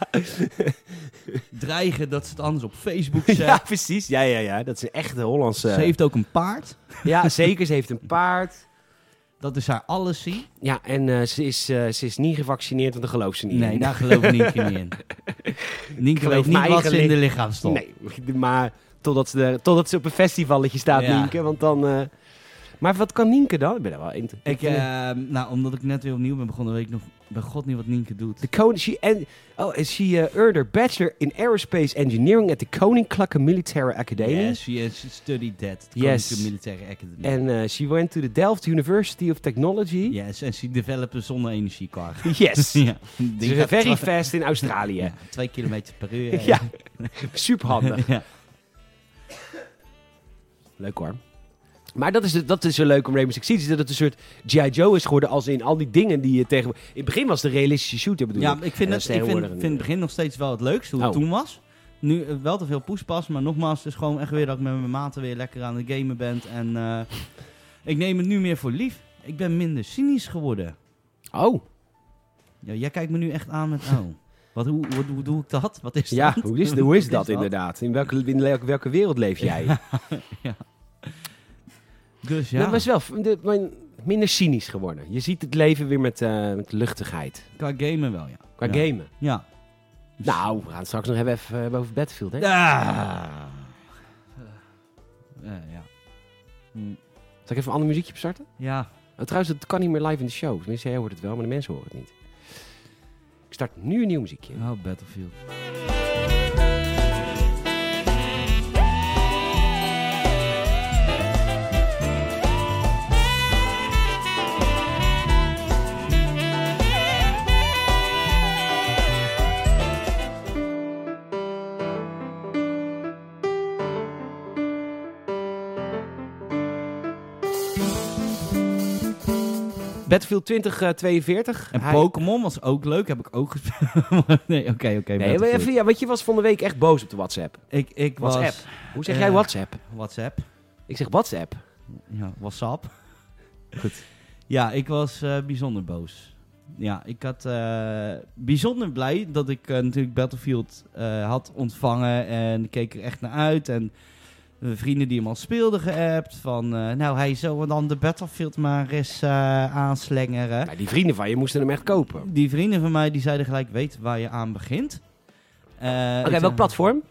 S2: Dreigen dat ze het anders op Facebook zegt.
S1: Ja, precies. Ja, ja, ja. Dat is een echte Hollandse...
S2: Ze heeft ook een paard.
S1: Ja, zeker. Ze heeft een paard.
S2: Dat is haar allesie.
S1: Ja, en eh, ze, is, eh, ze is niet gevaccineerd, want dan gelooft ze niet.
S2: Nee, nou,
S1: in.
S2: daar geloof Nienke niet in. Nienke
S1: geloof
S2: weet niet
S1: mijn
S2: wat ze in
S1: eigen
S2: de lichaam stopt.
S1: Nee, maar totdat ze, er- totdat ze op een festivalletje staat,
S2: Ja.
S1: Nienke. Want dan... eh, Maar wat kan Nienke dan? Ik ben er wel in.
S2: Ik, eh, nou, omdat ik net weer opnieuw ben begonnen, weet ik nog bij god niet wat Nienke doet.
S1: De koning... She, en, oh, en she eh, earned her bachelor in aerospace engineering at the Koninklijke Militaire Academie.
S2: Yes, she is- she studied that.
S1: Yes.
S2: Koninklijke Militaire Academy.
S1: En eh, she went to the Delft University of Technology.
S2: Yes, en ze developen zonne-energiekar.
S1: Yes.
S2: ja,
S1: Ze is very fast in Australië.
S2: twee kilometer per uur.
S1: Ja,
S2: eh.
S1: superhandig.
S2: ja.
S1: Leuk hoor. Maar dat is, het- dat is zo leuk om Rainbow Six Siege, is dat het een soort G.I. Joe is geworden als in al die dingen die je tegen... In het begin was het een realistische shooter bedoel
S2: Ja,
S1: ik.
S2: maar ik vind,
S1: En
S2: het,
S1: dat is
S2: ik vind,
S1: tegenwoordig
S2: vind het begin nog steeds wel het leukste hoe het
S1: Oh.
S2: toen was. Nu eh, wel te veel poespas, maar nogmaals, het is gewoon echt weer dat ik met mijn maten weer lekker aan het gamen ben. En eh, ik neem het nu meer voor lief. Ik ben minder cynisch geworden.
S1: Oh,
S2: Ja, jij kijkt me nu echt aan met, oh, wat, hoe, hoe, hoe doe ik dat? Wat is
S1: ja,
S2: dat?
S1: hoe is, hoe is dat inderdaad? In welke, in welke, welke wereld leef jij?
S2: Dus ja,
S1: Dat was wel v- de- mijn- minder cynisch geworden. Je ziet het leven weer met, eh, met luchtigheid.
S2: qua gamen wel, ja.
S1: Qua
S2: ja.
S1: gamen.
S2: Ja,
S1: Nou, we gaan het straks nog hebben even, hebben over Battlefield, hè?
S2: Ah. Eh, ja. Hm.
S1: Zal ik even een ander muziekje starten?
S2: Ja.
S1: Oh, trouwens, dat kan niet meer live in de show. Tenminste, jij hoort het wel, maar de mensen horen het niet. Ik start nu een nieuw muziekje.
S2: Oh, Battlefield.
S1: Battlefield 2042.
S2: En
S1: Hij-
S2: Pokémon was ook leuk, heb ik ook gespeeld. Maar nee, oké, oké.
S1: Nee, maar
S2: Battlefield.
S1: even, ja, want je was van de week echt boos op de WhatsApp.
S2: ik, ik was...
S1: WhatsApp. Hoe zeg
S2: Eh.
S1: jij WhatsApp?
S2: WhatsApp.
S1: Ik zeg WhatsApp.
S2: Ja, WhatsApp. Goed. Ja, ik was eh, bijzonder boos. Ja, ik had eh, bijzonder blij dat ik eh, natuurlijk Battlefield eh, had ontvangen. En ik keek er echt naar uit. En eh, vrienden die hem al speelden geappt. Van, eh, nou, hij zou dan de Battlefield maar eens eh, aanslengeren.
S1: Nou, die vrienden van je moesten hem echt kopen. Oké,
S2: Die vrienden van mij die zeiden gelijk, weet waar je aan begint. Eh, Oké,
S1: welk platform?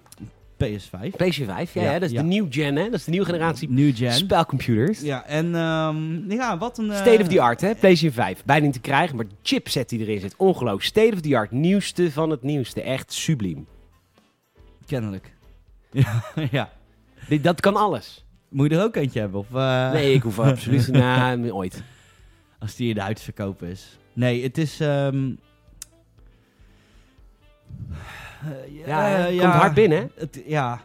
S2: PS5.
S1: PlayStation 5, ja,
S2: Ja,
S1: hè, dat is
S2: ja.
S1: de nieuw gen, hè? Dat is de nieuwe generatie
S2: New Gen.
S1: spelcomputers.
S2: Ja, en ehm, ja, wat een... eh,
S1: State of the art, hè? PlayStation 5. Bijna niet te krijgen, maar de chipset die erin zit. Ongelooflijk. State of the art. Nieuwste van het nieuwste. Echt subliem.
S2: Kennelijk. Ja, ja.
S1: Dit- Dat kan alles.
S2: Moet je er ook eentje hebben? Of, eh,
S1: Nee, ik hoef absoluut na ooit.
S2: Als die in de uitverkoop is. Nee, het is... ehm, eh,
S1: Ja, hè, komt hard binnen, hè?
S2: Het, ja.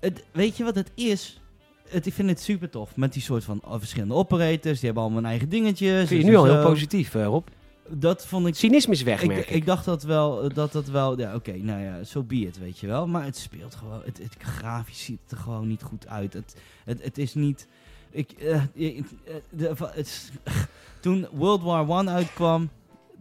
S2: Het, weet je wat het is? Het, ik vind het super tof. Met die soort van oh, verschillende operators. Die hebben allemaal hun eigen dingetjes.
S1: Vind je
S2: dus
S1: nu al heel
S2: zo.
S1: positief, eh, Rob.
S2: Dat vond ik...
S1: Het cynisme is weg,
S2: Ik,
S1: merk
S2: ik.
S1: ik.
S2: dacht dat wel, eh, dat dat wel, ja oké, nou ja, zo be it, weet je wel. Maar het speelt gewoon, het, het grafisch ziet het er gewoon niet goed uit. Het, het, het is niet, ik, eh, ik- eh, de- va- het is- toen World War One uitkwam,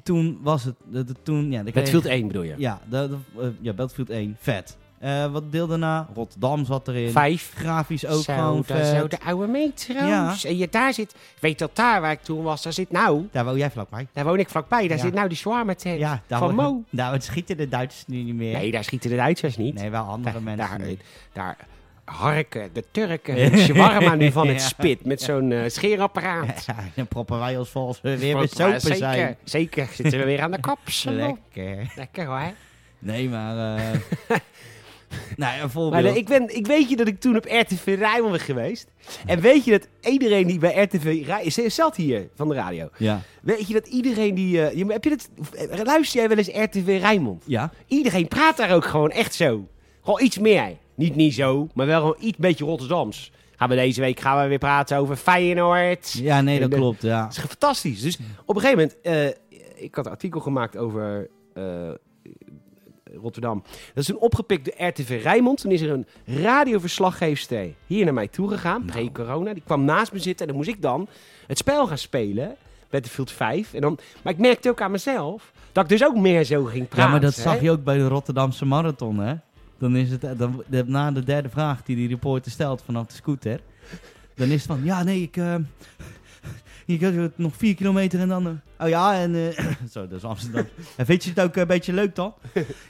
S2: toen was het, de, de- toen, ja, de
S1: Battlefield 1 bedoel je?
S2: ja, de, de- eh, ja, Battlefield 1, vet. Eh, wat deel daarna? Rotterdam zat erin.
S1: 5.
S2: Grafisch ook
S1: Zo,
S2: gewoon
S1: daar
S2: vet.
S1: zo de oude metro's.
S2: Ja.
S1: En je, daar zit, weet dat daar waar ik toen was, daar zit nou,
S2: Daar wou jij vlakbij.
S1: daar woon ik vlakbij, daar
S2: Ja.
S1: zit nou die shawarma tent.
S2: Ja, daar
S1: Van
S2: wordt-
S1: Mo.
S2: Daar schieten de Duitsers nu niet meer.
S1: Nee, daar schieten de Duitsers niet.
S2: Nee, wel andere
S1: daar,
S2: mensen.
S1: daar,
S2: nu.
S1: daar harken de Turken hun shawarma nu van het
S2: Ja.
S1: spit met zo'n eh, scheerapparaat.
S2: Ja, dan proppen wij ons volgens we eh, weer
S1: Maar
S2: met sopen
S1: zeker,
S2: zijn.
S1: Zeker, zitten we weer aan de kapsel.
S2: Lekker.
S1: Lekker hoor.
S2: Nee, maar... eh nou ja, een
S1: Maar
S2: voorbeeld.
S1: eh, ik, ben, ik weet je dat ik toen op RTV Rijnmond ben geweest. En weet je dat iedereen die bij RTV Rijnmond... zat hier van de radio.
S2: Ja.
S1: Weet je dat iedereen die... eh, je- heb je dat, luister jij wel eens RTV Rijnmond?
S2: Ja?
S1: Iedereen praat daar ook gewoon echt zo. Gewoon iets meer. Niet niet zo, maar wel gewoon iets beetje Rotterdams. Gaan we deze week gaan we weer praten over Feyenoord.
S2: Ja, nee, dat
S1: En, eh,
S2: klopt, ja.
S1: Dat is fantastisch. Dus op een gegeven moment, eh, ik had een artikel gemaakt over eh, Rotterdam. Dat is toen opgepikt door RTV Rijnmond. Toen is er een radioverslaggeefster hier naar mij toe gegaan, pre-corona. Die kwam naast me zitten en dan moest ik dan het spel gaan spelen. Battlefield 5. En dan, maar ik merkte ook aan mezelf dat ik dus ook meer zo ging praten.
S2: Ja, maar dat
S1: hè.
S2: zag je ook bij de Rotterdamse Marathon, hè? Dan is het... eh, Dan, de- na de derde vraag die die reporter stelt vanaf de scooter... Dan is het van... Ja, nee, ik... eh ik had het nog vier kilometer en dan... eh, oh ja, en... eh, zo, dat is Amsterdam. en vind je het ook een beetje leuk dan?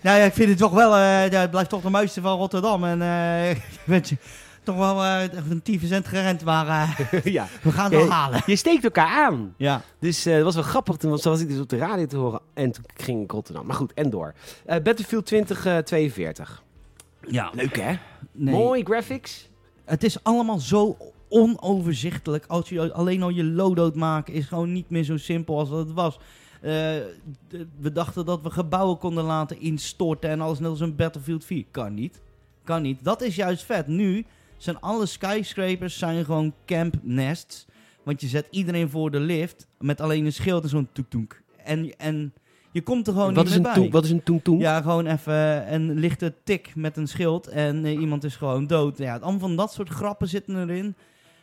S2: nou ja, ik vind het toch wel... eh ja, het blijft toch de mooiste van Rotterdam. En eh ik weet je... Toch wel eh, echt een 10 cent gerend, maar eh,
S1: ja.
S2: we gaan het wel
S1: Ja.
S2: halen.
S1: Je steekt elkaar aan.
S2: Ja.
S1: Dus eh, dat was wel grappig. Toen was, was ik dus op de radio te horen. En toen ging ik Rotterdam. Maar goed, en door. Eh, Battlefield eh, 2042.
S2: ja.
S1: Leuk hè?
S2: Nee.
S1: Mooi graphics.
S2: Het is allemaal zo onoverzichtelijk. Als je alleen al je loadout maken is gewoon niet meer zo simpel als dat het was. Eh, d- we dachten dat we gebouwen konden laten instorten en alles net als een Battlefield 4. Kan niet. Kan niet. Dat is juist vet. Nu zijn alle skyscrapers zijn gewoon camp nests. Want je zet iedereen voor de lift met alleen een schild en zo'n toek-toek. En, en je komt er gewoon
S1: Wat
S2: niet
S1: is, een
S2: meer bij.
S1: toen, wat is een toen toen?
S2: Ja, gewoon even een lichte tik met een schild en eh, iemand is gewoon dood. Ja, allemaal van dat soort grappen zitten erin.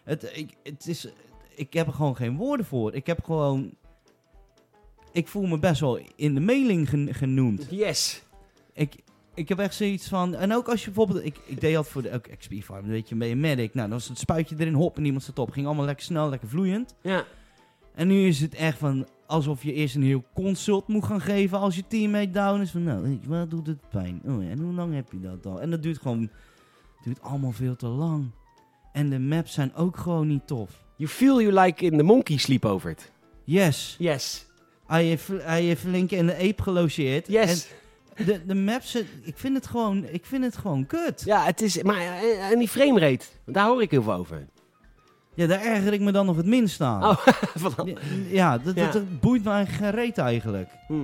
S2: Het, ik, het is, ik heb er gewoon geen woorden voor. Ik heb gewoon... Ik voel me best wel in de mailing gen- genoemd.
S1: Yes.
S2: Ik, ik heb echt zoiets van... En ook als je bijvoorbeeld... Ik, ik deed dat voor de ook XP Farm, weet je, ben je medic. Nou, dan was het spuitje erin, hop, en iemand zat op. Ging allemaal lekker snel, lekker vloeiend.
S1: Ja.
S2: En nu is het echt van alsof je eerst een heel consult moet gaan geven als je teammate down is. Van nou, weet je, wat doet het pijn? Oh, ja, en hoe lang heb je dat al? En dat duurt gewoon, duurt allemaal veel te lang. En de maps zijn ook gewoon niet tof.
S1: You feel you like in the monkey sleepover. it.
S2: Yes,
S1: Yes.
S2: hij heeft, hij heeft Link en de ape gelogeerd.
S1: Yes.
S2: En de, de maps, zijn- ik vind het gewoon, ik vind het gewoon kut.
S1: Ja, het is... Maar, eh, en die framerate, want daar hoor ik heel veel over.
S2: Ja, daar erger ik me dan nog het minst aan.
S1: Oh. Van-
S2: Ja, Ja, dat, dat,
S1: Ja.
S2: dat boeit me eigenlijk geen reet eigenlijk.
S1: Hm.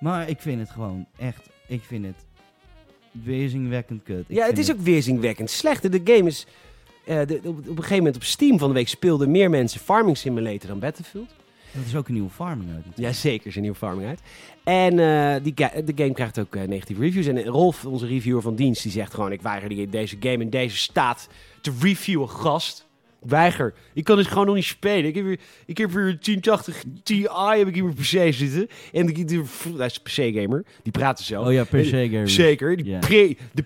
S2: Maar ik vind het gewoon echt, ik vind het weerzinwekkend kut. Ik
S1: Ja, het
S2: vind
S1: is ook weerzinwekkend slecht. De game is... eh, de- op, op een gegeven moment op Steam van de week speelden meer mensen Farming Simulator dan Battlefield.
S2: Dat is ook een nieuwe farming uit. natuurlijk.
S1: Jazeker, zijn nieuw Farming uit. En eh, die ga- de game krijgt ook eh, negatieve reviews. En Rolf, onze reviewer van dienst, die zegt gewoon... Ik weiger die- deze game in deze staat te reviewen, gast. Ik Weiger. Ik kan dit gewoon nog niet spelen. Ik heb hier, ik heb hier een 1080 Ti heb ik hier op mijn PC zitten. En die, die, hij is een PC-gamer. Die praten zo.
S2: Oh ja, per
S1: Eh,
S2: se, Gary.
S1: Zeker. Die
S2: Ja.
S1: pre- de,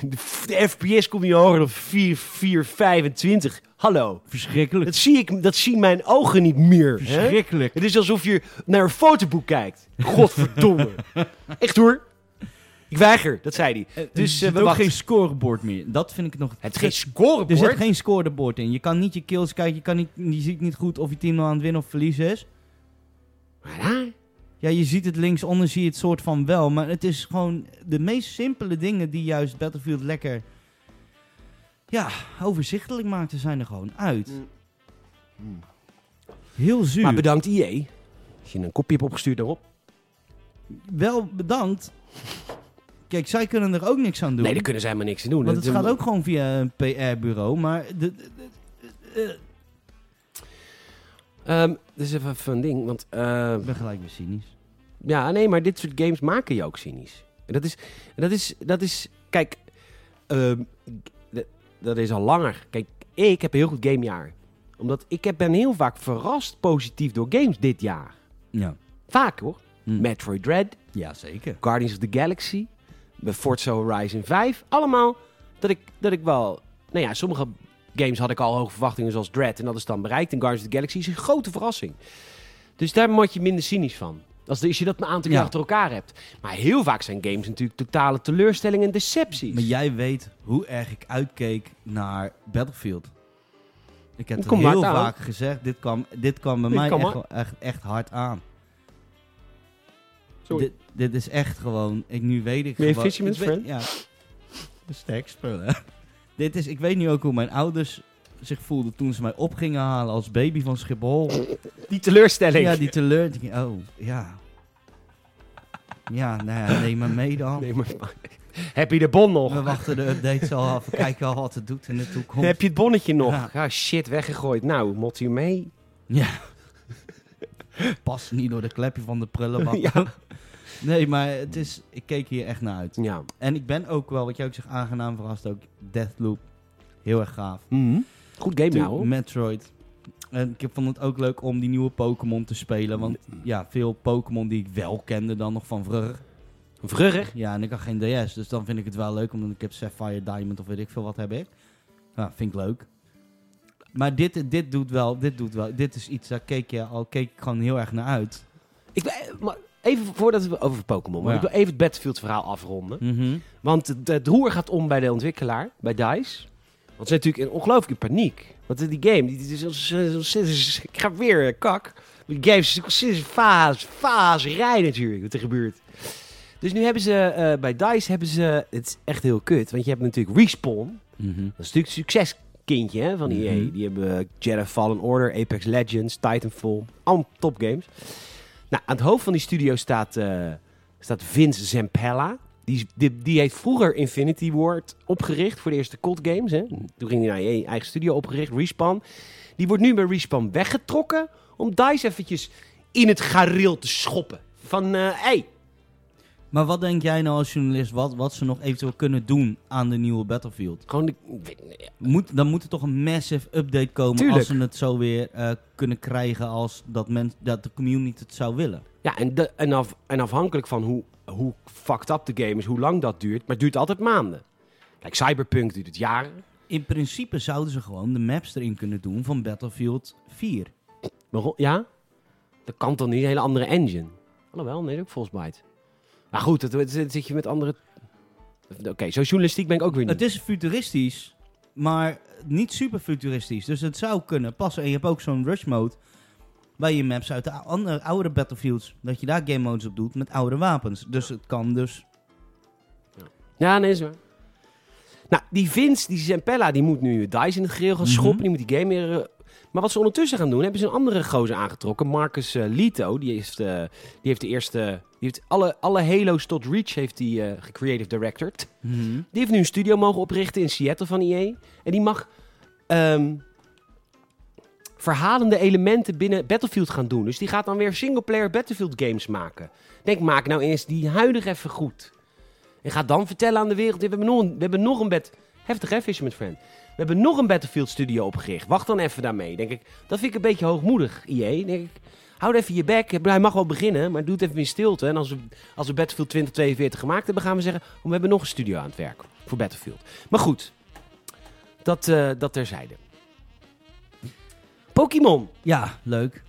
S1: de, de FPS komt niet hoger dan 4, 4, 25. Hallo.
S2: Verschrikkelijk.
S1: Dat, zie ik, dat zien mijn ogen niet meer. Hè?
S2: Verschrikkelijk.
S1: Het is alsof je naar een fotoboek kijkt. Godverdomme. Echt hoor. Ik weiger, dat zei hij.
S2: Eh,
S1: Dus,
S2: er
S1: eh,
S2: zit
S1: we
S2: ook
S1: wachten.
S2: geen scorebord meer. Dat vind ik nog...
S1: Het is geen scorebord.
S2: Er zit geen scorebord in. Je kan niet je kills kijken. Je, kan niet, je ziet niet goed of je team nou aan het winnen of verliezen is.
S1: Maar ja,
S2: Ja, je ziet het linksonder, zie je het soort van wel. Maar het is gewoon de meest simpele dingen die juist Battlefield lekker... Ja, overzichtelijk maakten zijn er gewoon uit.
S1: Mm. Mm.
S2: Heel zuur.
S1: Maar bedankt IE. Als je een kopje hebt opgestuurd daarop.
S2: wel bedankt. Kijk, zij kunnen er ook niks aan doen.
S1: Nee, daar kunnen zij maar niks aan doen.
S2: Want het
S1: Dat-
S2: gaat ook gewoon via een PR-bureau. Maar de, de- de- eh,
S1: Ehm, dat is even, even een ding, want... eh,
S2: ik ben gelijk weer cynisch.
S1: Ja, nee, maar dit soort games maken je ook cynisch. En dat is, dat is, dat is kijk, ehm, d- dat is al langer. Kijk, ik heb een heel goed gamejaar. Omdat ik heb, ben heel vaak verrast positief door games dit jaar.
S2: Ja.
S1: Vaak hoor.
S2: Hm.
S1: Metroid Dread,
S2: Ja, zeker.
S1: Guardians of the Galaxy, Forza Horizon 5. Allemaal dat ik, dat ik wel... Nou ja, sommige games had ik al hoge verwachtingen zoals Dread. En dat is dan bereikt. En Guardians of the Galaxy is een grote verrassing. Dus daar word je minder cynisch van. Als, de- als je dat een aantal keer
S2: Ja.
S1: achter elkaar hebt. Maar heel vaak zijn games natuurlijk totale teleurstellingen en decepties.
S2: Maar jij weet hoe erg ik uitkeek naar Battlefield. Ik heb
S1: Het
S2: het
S1: komt
S2: heel
S1: hard aan.
S2: vaak gezegd. Dit kwam, dit kwam bij
S1: Dit
S2: mij
S1: kwam
S2: echt,
S1: hard.
S2: wel echt, echt hard aan.
S1: Sorry.
S2: Dit, dit is echt gewoon... Ik, nu weet ik
S1: Ben je
S2: gewoon...
S1: Fisherman's
S2: ik weet-
S1: Friend?
S2: Ja. Dat is sterk spul, hè? Dit is... Ik weet nu ook hoe mijn ouders zich voelden toen ze mij op gingen halen als baby van Schiphol.
S1: Die teleurstelling.
S2: Ja, die teleurstelling. Oh, ja. Ja, nou ja, neem maar mee dan.
S1: Nee, maar, heb je de bon nog?
S2: We wachten de updates al af. We kijken al wat het doet in de toekomst.
S1: Heb je het bonnetje nog?
S2: Ja.
S1: Ah, shit, weggegooid. Nou, mot je mee?
S2: Ja. Past niet door de klepje van de prullenbak.
S1: Ja.
S2: Nee, maar het is... Ik keek hier echt naar uit.
S1: Ja.
S2: En ik ben ook wel, wat jij ook zegt, aangenaam verrast ook. Deathloop. Heel erg gaaf.
S1: Goed game nou, hoor.
S2: Metroid. En ik heb- vond het ook leuk om die nieuwe Pokémon te spelen. Want ja, veel Pokémon die ik wel kende dan nog van vroeger.
S1: Vrugger.
S2: Ja, en ik had geen DS, dus dan vind ik het wel leuk. Omdat ik heb Sapphire Diamond of weet ik veel wat heb ik. Ja, vind ik leuk. Maar dit, dit doet wel, dit doet wel. Dit is iets, daar keek, je, al keek ik gewoon heel erg naar uit.
S1: Ik, wil- eh, maar even voordat we over Pokémon. maar
S2: Ja.
S1: Ik wil even het Battlefield verhaal afronden.
S2: Mhm.
S1: Want het, het roer gaat om bij de ontwikkelaar, bij DICE. Want ze zijn natuurlijk in ongelooflijke paniek. Want die game, die, die is, is- is- is- ik ga weer eh, kak. Die game is sinds fase, fase rij natuurlijk, wat er gebeurt. Dus nu hebben ze, eh, bij DICE hebben ze, het is echt heel kut. Want je hebt natuurlijk Respawn.
S2: Mhm.
S1: Dat is natuurlijk het succeskindje hè, van EA.
S2: Mhm.
S1: Die hebben eh, Jedi Fallen Order, Apex Legends, Titanfall. Allemaal topgames. Nou, aan het hoofd van die studio staat, eh, staat Vince Zampella. Die, is- die, die heeft vroeger Infinity Ward opgericht voor de eerste COD games. Hè. Toen ging hij naar EA, eigen studio opgericht, Respawn. Die wordt nu bij Respawn weggetrokken om DICE eventjes in het gareel te schoppen. Van, eh hey,
S2: Maar wat denk jij nou als journalist, wat, wat ze nog eventueel kunnen doen aan de nieuwe Battlefield?
S1: gewoon de...
S2: Moet, dan moet er toch een massive update komen
S1: Tuurlijk.
S2: als ze het zo weer eh, kunnen krijgen als dat, men, dat de community het zou willen.
S1: Ja, en, de, en, af, en afhankelijk van hoe, hoe fucked up de game is, hoe lang dat duurt. Maar het duurt altijd maanden. Kijk, Cyberpunk duurt het jaren.
S2: In principe zouden ze gewoon de maps erin kunnen doen van Battlefield 4.
S1: Waarom? Ja? Dat kan toch niet? Een hele andere engine. Alhoewel, nee, dat is ook Frostbite. Maar goed, dat, dat zit je met andere... Oké, zo journalistiek ben ik ook weer niet.
S2: Het is futuristisch, maar niet super futuristisch. Dus het zou kunnen passen. En je hebt ook zo'n rush mode bij je maps uit de ou- andere, oude battlefields. Dat je daar game modes op doet met oude wapens. Dus het kan dus.
S1: Ja, nee, is waar. Nou, die Vince, die Zempella, die moet nu DICE in het geheel gaan
S2: Mhm.
S1: schoppen. Die moet die game weer... eh, maar wat ze ondertussen gaan doen, hebben ze een andere gozer aangetrokken. Marcus eh, Lito, die heeft, eh, die heeft de eerste... Die heeft alle, alle Halo's tot Reach heeft die eh gecreative directed. Die heeft nu een studio mogen oprichten in Seattle van EA. En die mag ehm, verhalende elementen binnen Battlefield gaan doen. Dus die gaat dan weer singleplayer Battlefield games maken. Denk, maak nou eens die huidige even goed. En ga dan vertellen aan de wereld, we hebben nog een, we hebben nog een bed... Heftig hè, Fisherman Friend? We hebben nog een Battlefield studio opgericht. Wacht dan even daarmee, denk ik. Dat vind ik een beetje hoogmoedig, EA. Denk ik, houd even je bek. Hij mag wel beginnen, maar doe het even in stilte. En als we, als we Battlefield 2042 gemaakt hebben, gaan we zeggen... "Oh, We hebben nog een studio aan het werk voor Battlefield. Maar goed, dat, eh, dat terzijde. Pokémon.
S2: Ja, leuk.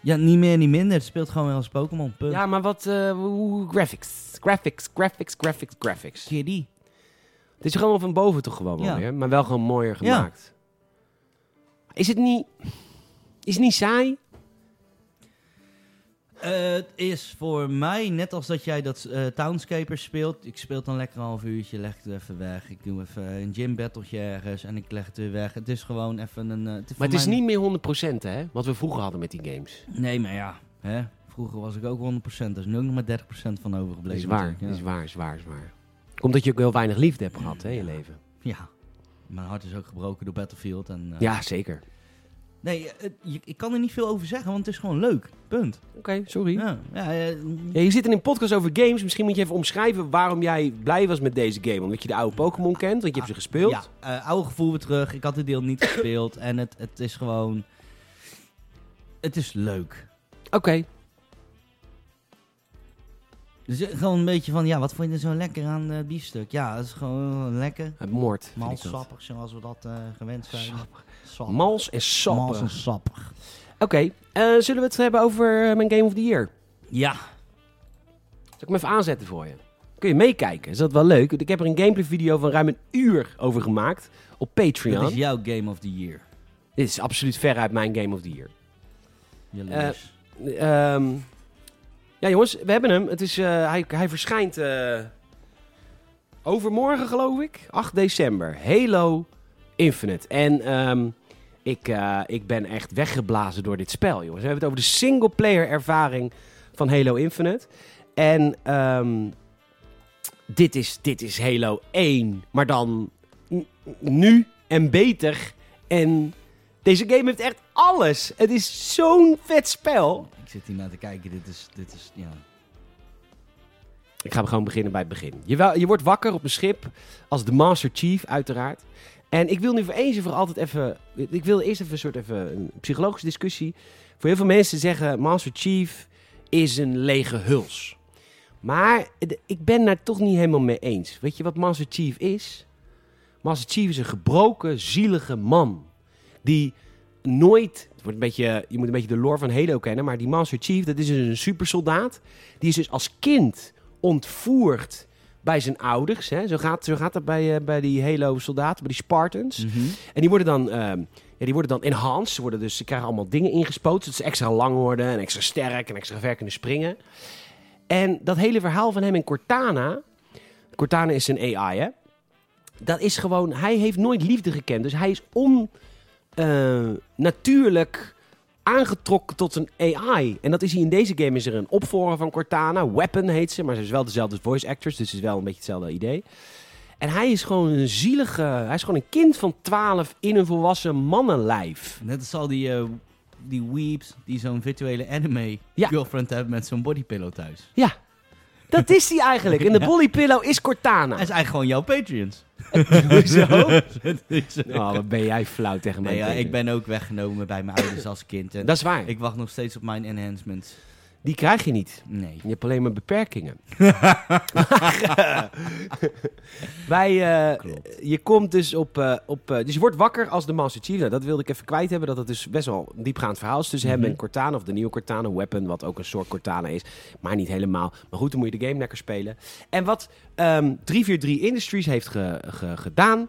S2: Ja, niet meer, niet minder. Het speelt gewoon weer als Pokémon. Punt.
S1: Ja, maar wat... eh, hoe- graphics. Graphics, graphics, graphics, graphics.
S2: Kitty.
S1: Het is gewoon van boven toch gewoon wel
S2: Ja.
S1: weer, maar wel gewoon mooier
S2: Ja.
S1: gemaakt. Is het niet... Is het niet saai?
S2: Eh, het is voor mij, net als dat jij dat eh Townscapers speelt. Ik speel het dan lekker een half uurtje, leg het even weg. Ik doe even een gym battletje ergens en ik leg het weer weg. Het is gewoon even een... eh, voor
S1: Maar het is
S2: mij-
S1: niet meer 100% hè, wat we vroeger hadden met die games.
S2: Nee, maar ja. Hè? Vroeger was ik ook 100%. Er is nu ook nog maar 30% van overgebleven.
S1: is waar,
S2: natuurlijk, Ja.
S1: is waar, is waar, is waar. Omdat je ook heel weinig liefde hebt gehad hè, in je leven.
S2: Ja. Mijn hart is ook gebroken door Battlefield. En, eh,
S1: Ja, zeker.
S2: Nee, eh, je- ik kan er niet veel over zeggen, want het is gewoon leuk. Punt.
S1: Oké, sorry.
S2: Ja, ja, eh,
S1: Ja, je zit in een podcast over games. Misschien moet je even omschrijven waarom jij blij was met deze game. Omdat je de oude Pokémon kent, want je hebt ze gespeeld.
S2: Ja, eh, oude gevoel weer terug. Ik had dit deel niet gespeeld. En het, het is gewoon... Het is leuk.
S1: Oké.
S2: Dus eh, gewoon een beetje van, ja, wat vond je er zo lekker aan eh biefstuk? Ja, het is gewoon eh, lekker.
S1: Het Eh, moord. vind ik dat.
S2: Malsappig, zoals we dat eh, gewend zijn. Sappig.
S1: Mals en sappen.
S2: Mals en
S1: Oké,
S2: sappig.
S1: eh, zullen we het hebben over eh, mijn Game of the Year?
S2: Ja.
S1: Zal ik hem even aanzetten voor je? Kun je meekijken? Is dat wel leuk? Ik heb er een gameplay video van ruim een uur over gemaakt op Patreon.
S2: Dat is jouw Game of the Year.
S1: Dit is absoluut veruit mijn Game of the Year.
S2: Jaloers.
S1: Ehm, ja, jongens, we hebben hem. Het is, eh, hij, hij verschijnt eh, overmorgen, geloof ik. 8 december. Halo Infinite. En ehm, ik, eh, ik ben echt weggeblazen door dit spel, jongens. We hebben het over de single-player ervaring van Halo Infinite. En ehm, dit, is, dit is Halo 1, maar dan n- nu en beter. En deze game heeft echt alles. Het is zo'n vet spel.
S2: Ik zit hier naar te kijken. Dit is, dit is, ja.
S1: Ik ga gewoon beginnen bij het begin. Je, wel- je wordt wakker op een schip als de Master Chief, uiteraard. En ik wil nu voor eens en voor altijd even... Ik wil eerst even een soort even een psychologische discussie. Voor heel veel mensen zeggen Master Chief is een lege huls. Maar de- ik ben daar toch niet helemaal mee eens. Weet je wat Master Chief is? Master Chief is een gebroken, zielige man. Die nooit... Het wordt een beetje, je moet een beetje de lore van Halo kennen. Maar die Master Chief, dat is dus een supersoldaat. Die is dus als kind ontvoerd bij zijn ouders. Hè? Zo, gaat, zo gaat dat bij, eh, bij die Halo-soldaten, bij die Spartans. En die worden dan, ehm, ja, die worden dan enhanced. Ze, worden dus, ze krijgen allemaal dingen ingespoten. Zodat ze extra lang worden en extra sterk en extra ver kunnen springen. En dat hele verhaal van hem en Cortana... Cortana is een AI, hè? Dat is gewoon... Hij heeft nooit liefde gekend. Dus hij is onnatuurlijk aangetrokken tot een AI. En dat is hij in deze game. Is er een opvolger van Cortana. Weapon heet ze. Maar ze is wel dezelfde voice actress. Dus het is wel een beetje hetzelfde idee. En hij is gewoon een zielige... Hij is gewoon een kind van 12 in een volwassen mannenlijf.
S2: Net als al die, eh, die weeps die zo'n virtuele anime
S1: Ja.
S2: girlfriend hebben met zo'n bodypillow thuis.
S1: Ja, dat is hij eigenlijk. En de
S2: Ja.
S1: Bolly Pillow is Cortana.
S2: Hij is eigenlijk gewoon jouw Patreons.
S1: Hoezo?
S2: nee,
S1: Oh, wat ben jij flauw tegen mij.
S2: ja,
S1: Peter.
S2: ik ben ook weggenomen bij mijn ouders als kind. En
S1: Dat is waar.
S2: ik wacht nog steeds op mijn enhancements.
S1: Die krijg je niet.
S2: Nee.
S1: Je hebt alleen maar beperkingen. Wij, eh,
S2: Klopt.
S1: je komt dus op, eh, op eh, dus je wordt wakker als de Master Chief. Nou, dat wilde ik even kwijt hebben, dat het dus best wel een diepgaand verhaal is tussen
S2: Mhm.
S1: hem en Cortana, of de nieuwe Cortana Weapon, wat ook een soort Cortana is, maar niet helemaal. Maar goed, dan moet je de game lekker spelen. En wat ehm 343 Industries heeft ge- ge- gedaan,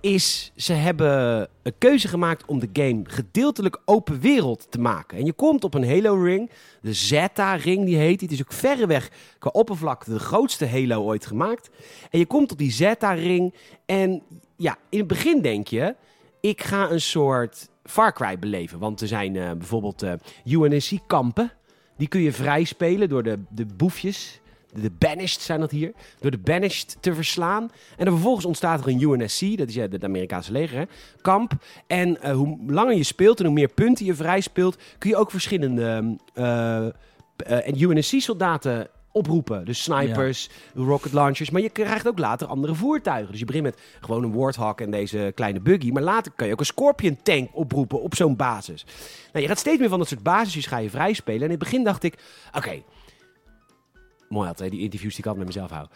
S1: is ze hebben een keuze gemaakt om de game gedeeltelijk open wereld te maken. En je komt op een Halo-ring, de Zeta-ring die heet. die. Het is ook verreweg qua oppervlakte de grootste Halo ooit gemaakt. En je komt op die Zeta-ring en ja, in het begin denk je, ik ga een soort Far Cry beleven. Want er zijn eh, bijvoorbeeld eh UNSC-kampen. Die kun je vrij spelen door de, de boefjes. De, de banished zijn dat hier. Door de banished te verslaan. En dan vervolgens ontstaat er een UNSC. Dat is ja, het Amerikaanse leger, hè? Kamp. En eh, hoe langer je speelt en hoe meer punten je vrij speelt... kun je ook verschillende ehm, eh, p- eh, en UNSC-soldaten oproepen. Dus snipers, rocket launchers. Maar je krijgt ook later andere voertuigen. Dus je begint met gewoon een Warthog en deze kleine buggy. Maar later kan je ook een Scorpion tank oproepen op zo'n basis. Nou, je gaat steeds meer van dat soort basisjes ga je vrij spelen. En in het begin dacht ik, oké... mooi altijd, die interviews die ik altijd met mezelf hou.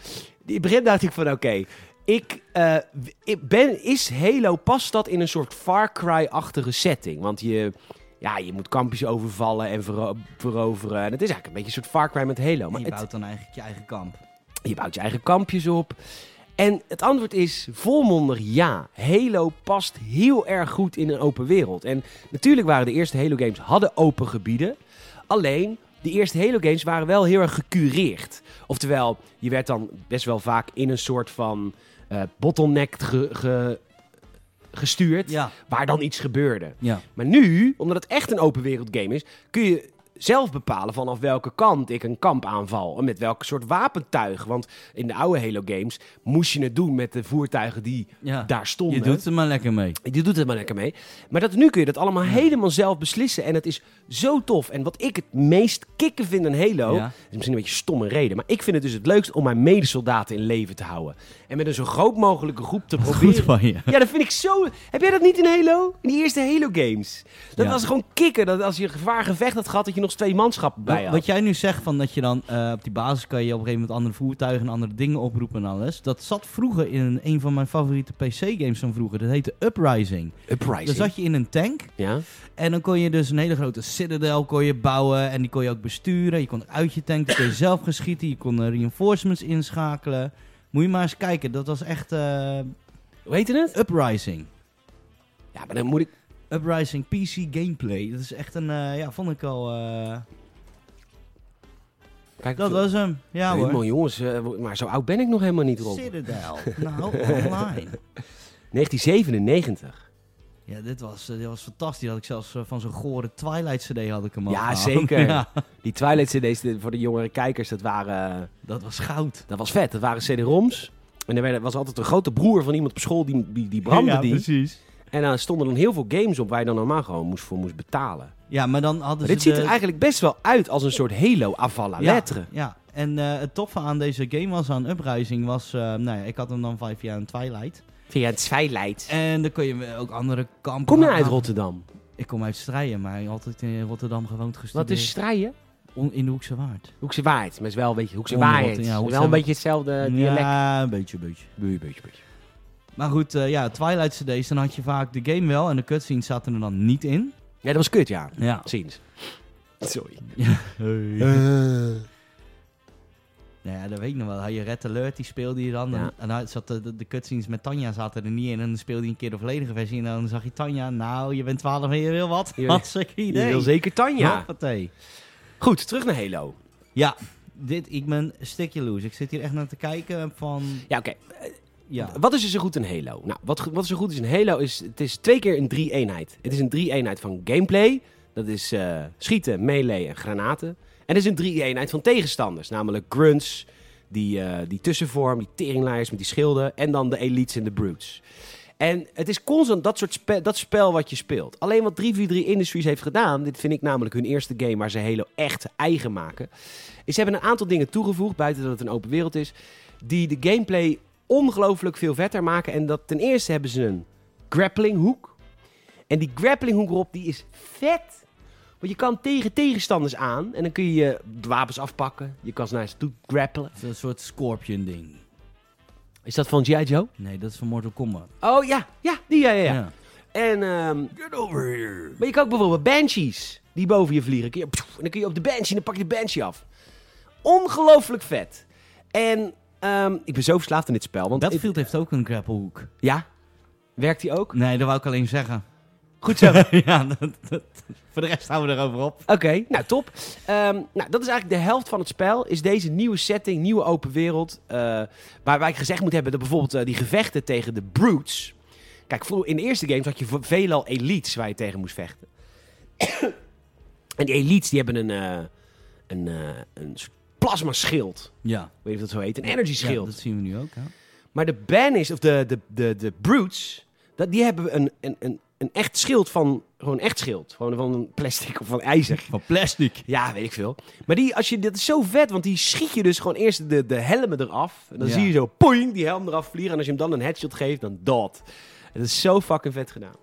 S1: In het begin dacht ik van, oké... ik, eh, ik ben, is Halo, past dat in een soort Far Cry-achtige setting? Want je, ja, je moet kampjes overvallen en vero- veroveren. En het is eigenlijk een beetje een soort Far Cry met Halo. Maar
S2: je
S1: het-
S2: bouwt dan eigenlijk je eigen kamp.
S1: je bouwt je eigen kampjes op. En het antwoord is volmondig ja. Halo past heel erg goed in een open wereld. En natuurlijk waren de eerste Halo games hadden open gebieden. Alleen de eerste Halo games waren wel heel erg gecureerd. Oftewel, je werd dan best wel vaak in een soort van eh, bottleneck ge- ge- gestuurd.
S2: Ja.
S1: Waar dan iets gebeurde.
S2: Ja.
S1: Maar nu, omdat het echt een open wereld game is, kun je zelf bepalen vanaf welke kant ik een kamp aanval. En met welk soort wapentuig. Want in de oude Halo games moest je het doen met de voertuigen die
S2: ja.
S1: daar stonden.
S2: Je doet er maar lekker mee.
S1: Je doet het maar lekker mee. Maar dat, nu kun je dat allemaal helemaal zelf beslissen. En het is zo tof. En wat ik het meest kicken vind aan Halo...
S2: Ja.
S1: is misschien een beetje een stomme reden... maar ik vind het dus het leukst om mijn medesoldaten in leven te houden. En met een zo groot mogelijke groep te proberen...
S2: Goed van je.
S1: Ja, dat vind ik zo... Heb jij dat niet in Halo? In die eerste Halo-games? Dat
S2: Ja.
S1: was gewoon kicken. Dat als je een gevaar gevecht had gehad, dat je nog twee manschappen bij
S2: Wat-
S1: had.
S2: Wat jij nu zegt van dat je dan eh, op die basis kan je op een gegeven moment andere voertuigen en andere dingen oproepen en alles. Dat zat vroeger in een, een van mijn favoriete PC-games van vroeger. Dat heette Uprising.
S1: Uprising.
S2: Dan zat je in een tank
S1: Dus Ja?
S2: en dan kon je dus een hele grote citadel kon je bouwen en die kon je ook besturen. Je kon uit je tank, die kon je zelf geschieten, je kon eh, reinforcements inschakelen. Moet je maar eens kijken, dat was echt eh,
S1: Hoe heette het?
S2: Uprising.
S1: Ja, maar dan moet ik...
S2: Uprising PC gameplay. Dat is echt een, eh, ja, vond ik al. eh,
S1: Kijk,
S2: dat was hem. Ja hoor.
S1: Helemaal jongens, eh, maar zo oud ben ik nog helemaal niet, Rob.
S2: Citadel. Nou, online.
S1: 1997.
S2: Ja, dit was, eh, dit was fantastisch. Had ik zelfs eh, van zo'n gore Twilight CD had ik hem al.
S1: Ja,
S2: gehaald.
S1: zeker.
S2: Ja,
S1: Die Twilight CD's de- voor de jongere kijkers, dat waren... eh,
S2: dat was goud.
S1: Dat was vet. Dat waren CD-ROMs. En er werd- was altijd een grote broer van iemand op school die, die, die brandde
S2: ja,
S1: die.
S2: precies.
S1: En daar stonden dan heel veel games op waar je dan normaal gewoon moest, voor moest betalen.
S2: Ja, maar dan hadden
S1: Maar
S2: ze
S1: dit ziet
S2: de-
S1: er eigenlijk best wel uit als een soort Halo afval
S2: ja,
S1: letteren.
S2: Ja, en eh, het toffe aan deze game was, aan Uprising, was... eh, nou ja, ik had hem dan vijf jaar in Twilight.
S1: Via het Ah. Twilight.
S2: En dan kon je ook andere kampen...
S1: Kom je
S2: aan-
S1: uit Rotterdam?
S2: Ik kom uit Strijen, maar ik heb altijd in Rotterdam gewoond gestudeerd.
S1: Wat is Strijen?
S2: On- in de Hoekse Waard.
S1: Hoekse Waard. Maar is wel een beetje Hoekse
S2: Onder
S1: Waard.
S2: Rotterdam, ja, Hoekse
S1: wel een
S2: Waard.
S1: beetje hetzelfde Eh, dialect.
S2: Ja, een beetje, een beetje.
S1: Beetje, beetje, beetje.
S2: Maar goed, eh, ja, Twilight CD's, dan had je vaak de game wel en de cutscenes zaten er dan niet in.
S1: Ja, dat was kut, ja.
S2: Ja.
S1: Ziens. Sorry. Eh.
S2: Nou ja, dat weet ik nog wel. Had je Red Alert, die speelde je dan.
S1: Ja.
S2: En, en dan zat de, de, de cutscenes met Tanja zaten er niet in. En dan speelde je een keer de volledige versie. En dan zag je Tanja. Nou, je bent 12 en je wil wat.
S1: Je-
S2: Wat zeg
S1: Je
S2: idee.
S1: wil zeker Tanja.
S2: Hoppatee.
S1: Goed, terug naar Halo.
S2: Ja, dit, ik ben stikje loose. Ik zit hier echt naar te kijken van...
S1: Ja, oké.
S2: Ja,
S1: Wat is er zo goed in Halo? Nou, wat, go- wat zo goed is in Halo is, het is twee keer een drie-eenheid. Het is een drie-eenheid van gameplay. Dat is eh, schieten, melee en granaten. En het is een drie-eenheid van tegenstanders. Namelijk grunts, die, eh, die tussenvorm, die teringlaaiers met die schilden. En dan de elites en de brutes. En het is constant dat, soort spe- dat spel wat je speelt. Alleen wat 343 Industries heeft gedaan, dit vind ik namelijk hun eerste game waar ze Halo echt eigen maken. Is ze hebben een aantal dingen toegevoegd, buiten dat het een open wereld is, die de gameplay ongelooflijk veel vetter maken. En dat ten eerste hebben ze een grappling hoek. En die grappling hoek, Rob, die is vet. Want je kan tegen tegenstanders aan en dan kun je je wapens afpakken. Je kan ze naar ze toe grappelen.
S2: Een soort scorpion ding.
S1: Is dat van G.I. Joe?
S2: Nee, dat is van Mortal Kombat.
S1: Oh ja, ja, die ja, ja. ja. En, ehm,
S2: Get over here.
S1: maar je kan ook bijvoorbeeld banshees die boven je vliegen. Kun je, pjoef, en dan kun je op de banshee en dan pak je de banshee af. Ongelooflijk vet. En ehm, ik ben zo verslaafd in dit spel. Want het-
S2: Battlefield heeft ook een grapplehoek.
S1: ja, werkt die ook?
S2: Nee, dat wou ik alleen zeggen.
S1: Goed zo.
S2: ja, dat, dat- voor de rest houden we erover op.
S1: Oké, nou top. Ehm, nou, dat is eigenlijk de helft van het spel. Is deze nieuwe setting, nieuwe open wereld. eh, waar wij gezegd moet hebben dat bijvoorbeeld eh, die gevechten tegen de brutes. Kijk, vroeger in de eerste games had je v- veelal elites waar je tegen moest vechten. en die elites die hebben een, eh, een, eh, een soort plasmaschild.
S2: Ja.
S1: Weet je of dat zo heet? Een energy
S2: Ja,
S1: schild.
S2: dat zien we nu ook. Hè?
S1: Maar de banners, of de, de, de, de brutes, dat, die hebben een, een, een, een echt schild van... Gewoon een echt schild. Gewoon van een plastic of van ijzer.
S2: Van plastic.
S1: Ja, weet ik veel. Maar die, als je, dat is zo vet, want die schiet je dus gewoon eerst de, de helmen eraf. En dan
S2: Ja.
S1: zie je zo, poing, die helm eraf vliegen. En als je hem dan een headshot geeft, dan dat. Het is zo fucking vet gedaan.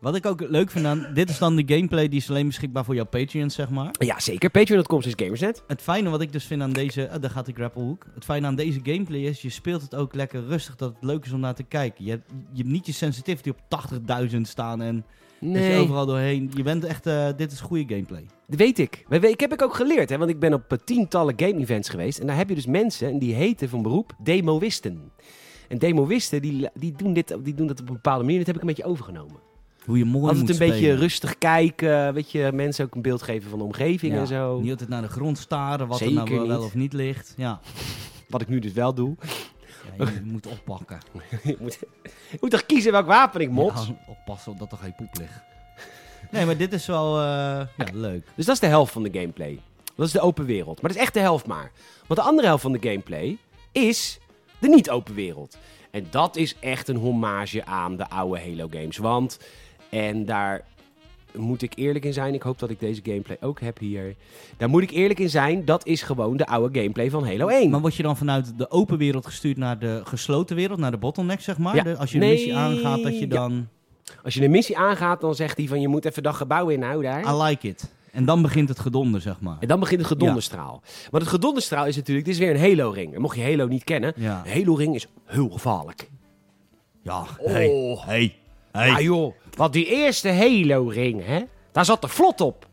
S2: Wat ik ook leuk vind aan... Dit is dan de gameplay die is alleen beschikbaar voor jouw Patreon, zeg maar.
S1: Ja, zeker. Patreon.com is Gamersnet.
S2: Het fijne wat ik dus vind aan deze... ah, daar gaat de grapplehoek. Het fijne aan deze gameplay is, je speelt het ook lekker rustig. Dat het leuk is om naar te kijken. Je hebt, je hebt niet je sensitivity op 80.000 staan en dat je
S1: Nee,
S2: overal doorheen... Je bent echt... eh, dit is goede gameplay.
S1: dat weet ik. Maar we- ik heb ik ook geleerd, hè, want ik ben op eh, tientallen game-events geweest. En daar heb je dus mensen, en die heten van beroep demoïsten. En demoïsten, die, die, doen dit, die doen dat op een bepaalde manier. Dat heb ik een beetje overgenomen.
S2: Hoe je mooi
S1: Altijd
S2: moet
S1: een beetje
S2: spelen.
S1: rustig kijken. Weet je, mensen ook een beeld geven van de omgeving
S2: Ja,
S1: en zo.
S2: Niet altijd naar de grond staren, wat er
S1: Zeker
S2: nou wel, wel
S1: niet.
S2: of niet ligt. Ja,
S1: Wat ik nu dus wel doe.
S2: Ja, je moet oppakken.
S1: ik, moet, ik moet toch kiezen welk wapen ik mot.
S2: Ja, oppassen dat er geen poep ligt. Nee, maar dit is wel eh, ja, leuk.
S1: Dus dat is de helft van de gameplay. Dat is de open wereld. Maar dat is echt de helft maar. Want de andere helft van de gameplay is de niet-open wereld. En dat is echt een hommage aan de oude Halo games. Want, en daar moet ik eerlijk in zijn. Ik hoop dat ik deze gameplay ook heb hier. Daar moet ik eerlijk in zijn. Dat is gewoon de oude gameplay van Halo 1.
S2: Maar word je dan vanuit de open wereld gestuurd naar de gesloten wereld, naar de bottleneck, zeg maar?
S1: Ja.
S2: De- als je de
S1: Nee,
S2: missie aangaat, dat je
S1: ja.
S2: dan...
S1: Als je een missie aangaat, dan zegt hij van je moet even dat gebouw inhouden. daar.
S2: I like it. En dan begint het gedonder, zeg maar.
S1: En dan begint het gedonderstraal. Want het gedonderstraal is natuurlijk, dit is weer een Halo-ring. En mocht je Halo niet kennen,
S2: Ja.
S1: een Halo-ring is heel gevaarlijk.
S2: Ja,
S1: Oh.
S2: hey, hey, hey.
S1: Ah joh, want die eerste Halo-ring, hè, daar zat de vlot op.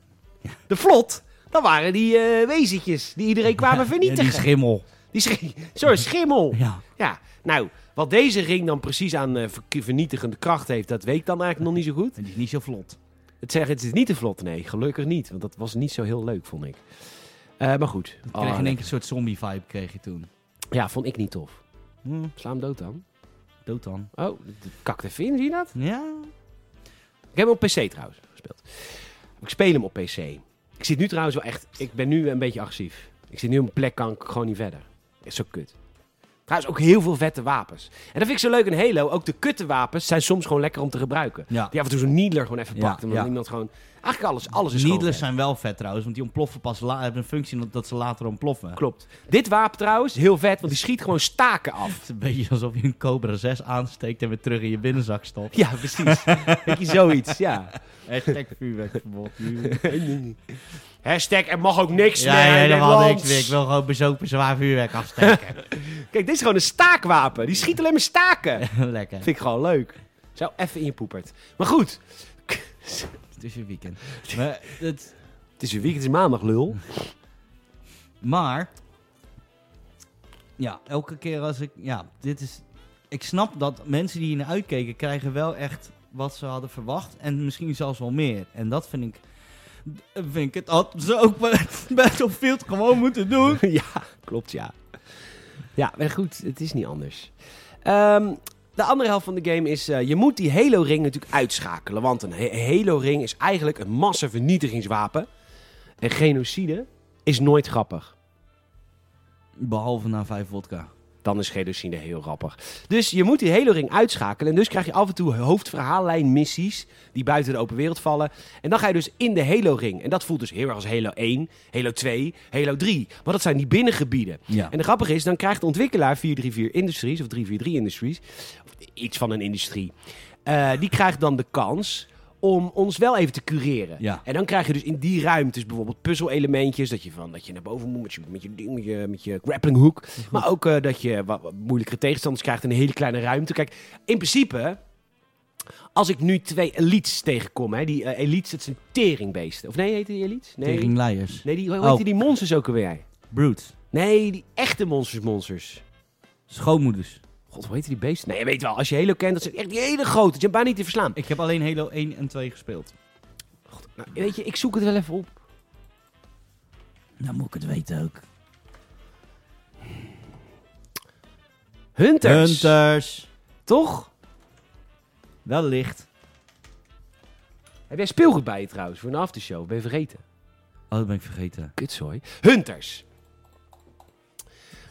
S1: De vlot, dat waren die eh, wezentjes die iedereen kwamen
S2: Ja, die
S1: vernietigen.
S2: schimmel.
S1: die schi- Zo'n schimmel.
S2: Ja.
S1: Ja, nou, wat deze ring dan precies aan eh, ver- vernietigende kracht heeft, dat weet ik dan eigenlijk nog niet zo goed.
S2: En die is niet zo vlot.
S1: Het zeggen, het is niet de vlot, nee, gelukkig niet. Want dat was niet zo heel leuk, vond ik. Eh, maar goed.
S2: Dat
S1: Oh,
S2: kreeg je in één
S1: lekker.
S2: keer een soort zombie-vibe kreeg je toen.
S1: Ja, vond ik niet tof.
S2: Hm,
S1: Sla hem dood dan.
S2: dood dan.
S1: Oh, kakt even in, zie je dat?
S2: Ja.
S1: Ik heb hem op PC trouwens gespeeld. Ik speel hem op PC. Ik zit nu trouwens wel echt... Ik ben nu een beetje agressief. Ik zit nu op een plek, kan ik gewoon niet verder. Is zo kut. Trouwens ook heel veel vette wapens. En dat vind ik zo leuk in Halo. Ook de kutte wapens zijn soms gewoon lekker om te gebruiken.
S2: Ja.
S1: Die af en toe zo'n needler gewoon even
S2: Ja,
S1: pakt. En dan
S2: ja.
S1: iemand gewoon... Eigenlijk alles, alles is gewoon
S2: Needlers
S1: vet.
S2: zijn wel vet trouwens, want die ontploffen pas la- hebben een functie dat- dat ze later ontploffen.
S1: Klopt. Dit wapen trouwens, heel vet, want die schiet gewoon staken af.
S2: Het is een beetje alsof je een Cobra 6 aansteekt en weer terug in je binnenzak stopt.
S1: Ja, precies. Weet je, zoiets, ja.
S2: Hashtag vuurwerkverbod.
S1: Hashtag, er mag ook niks
S2: ja,
S1: meer in
S2: helemaal
S1: Nederland.
S2: niks meer. Ik wil gewoon bezopen zwaar vuurwerk afsteken.
S1: Kijk, dit is gewoon een staakwapen. Die schiet alleen maar staken.
S2: Lekker.
S1: Vind ik gewoon leuk. Zo, even in je poepert. Maar goed.
S2: Het is een weekend. Maar, het,
S1: Het is weer weekend, het is maandag, lul.
S2: maar, ja, elke keer als ik, ja, dit is, ik snap dat mensen die hiernaar uitkeken krijgen wel echt wat ze hadden verwacht en misschien zelfs wel meer. En dat vind ik, vind ik het had ze ook bij Battlefield gewoon moeten doen.
S1: ja, klopt, ja. Ja, maar goed, het is niet anders. Ehm, de andere helft van de game is, eh, je moet die Halo-ring natuurlijk uitschakelen. Want een he- Halo-ring is eigenlijk een massavernietigingswapen. En genocide is nooit grappig.
S2: Behalve na vijf vodka.
S1: dan is genocide heel grappig. Dus je moet die hele ring uitschakelen. En dus krijg je af en toe hoofdverhaallijnmissies die buiten de open wereld vallen. En dan ga je dus in de Halo-ring. En dat voelt dus heel erg als Halo 1, Halo 2, Halo 3. Want dat zijn die binnengebieden.
S2: Ja.
S1: En de grappige is, dan krijgt de ontwikkelaar 434 Industries of 343 Industries, of iets van een industrie, eh, die krijgt dan de kans om ons wel even te cureren.
S2: Ja.
S1: En dan krijg je dus in die ruimtes bijvoorbeeld puzzelementjes. Dat je, van, dat je naar boven moet met je, met je, ding, met je, met je grappling hook.
S2: Mhm.
S1: Maar ook eh, dat je wat, wat moeilijkere tegenstanders krijgt in een hele kleine ruimte. Kijk, in principe, als ik nu twee elites tegenkom, hè, die eh, elites, dat zijn teringbeesten. Of nee, heet die elites? Nee,
S2: Teringleiers.
S1: nee die, hoe
S2: Oh.
S1: heet die monsters ook alweer?
S2: Brutes.
S1: Nee, die echte monsters, monsters.
S2: Schoonmoeders.
S1: God, hoe heet die beesten? Nee, je weet wel, als je Halo kent, dat zijn echt die hele grote. Die zijn bijna niet te verslaan.
S2: Ik heb alleen Halo 1 en 2 gespeeld.
S1: Nou, weet je, ik zoek het wel even op.
S2: Nou moet ik het weten ook.
S1: Hunters.
S2: Hunters.
S1: Toch?
S2: Wellicht.
S1: Heb jij speelgoed bij je trouwens voor een aftershow? Ben je vergeten?
S2: Oh, dat ben ik vergeten.
S1: Kutzooi. Hunters.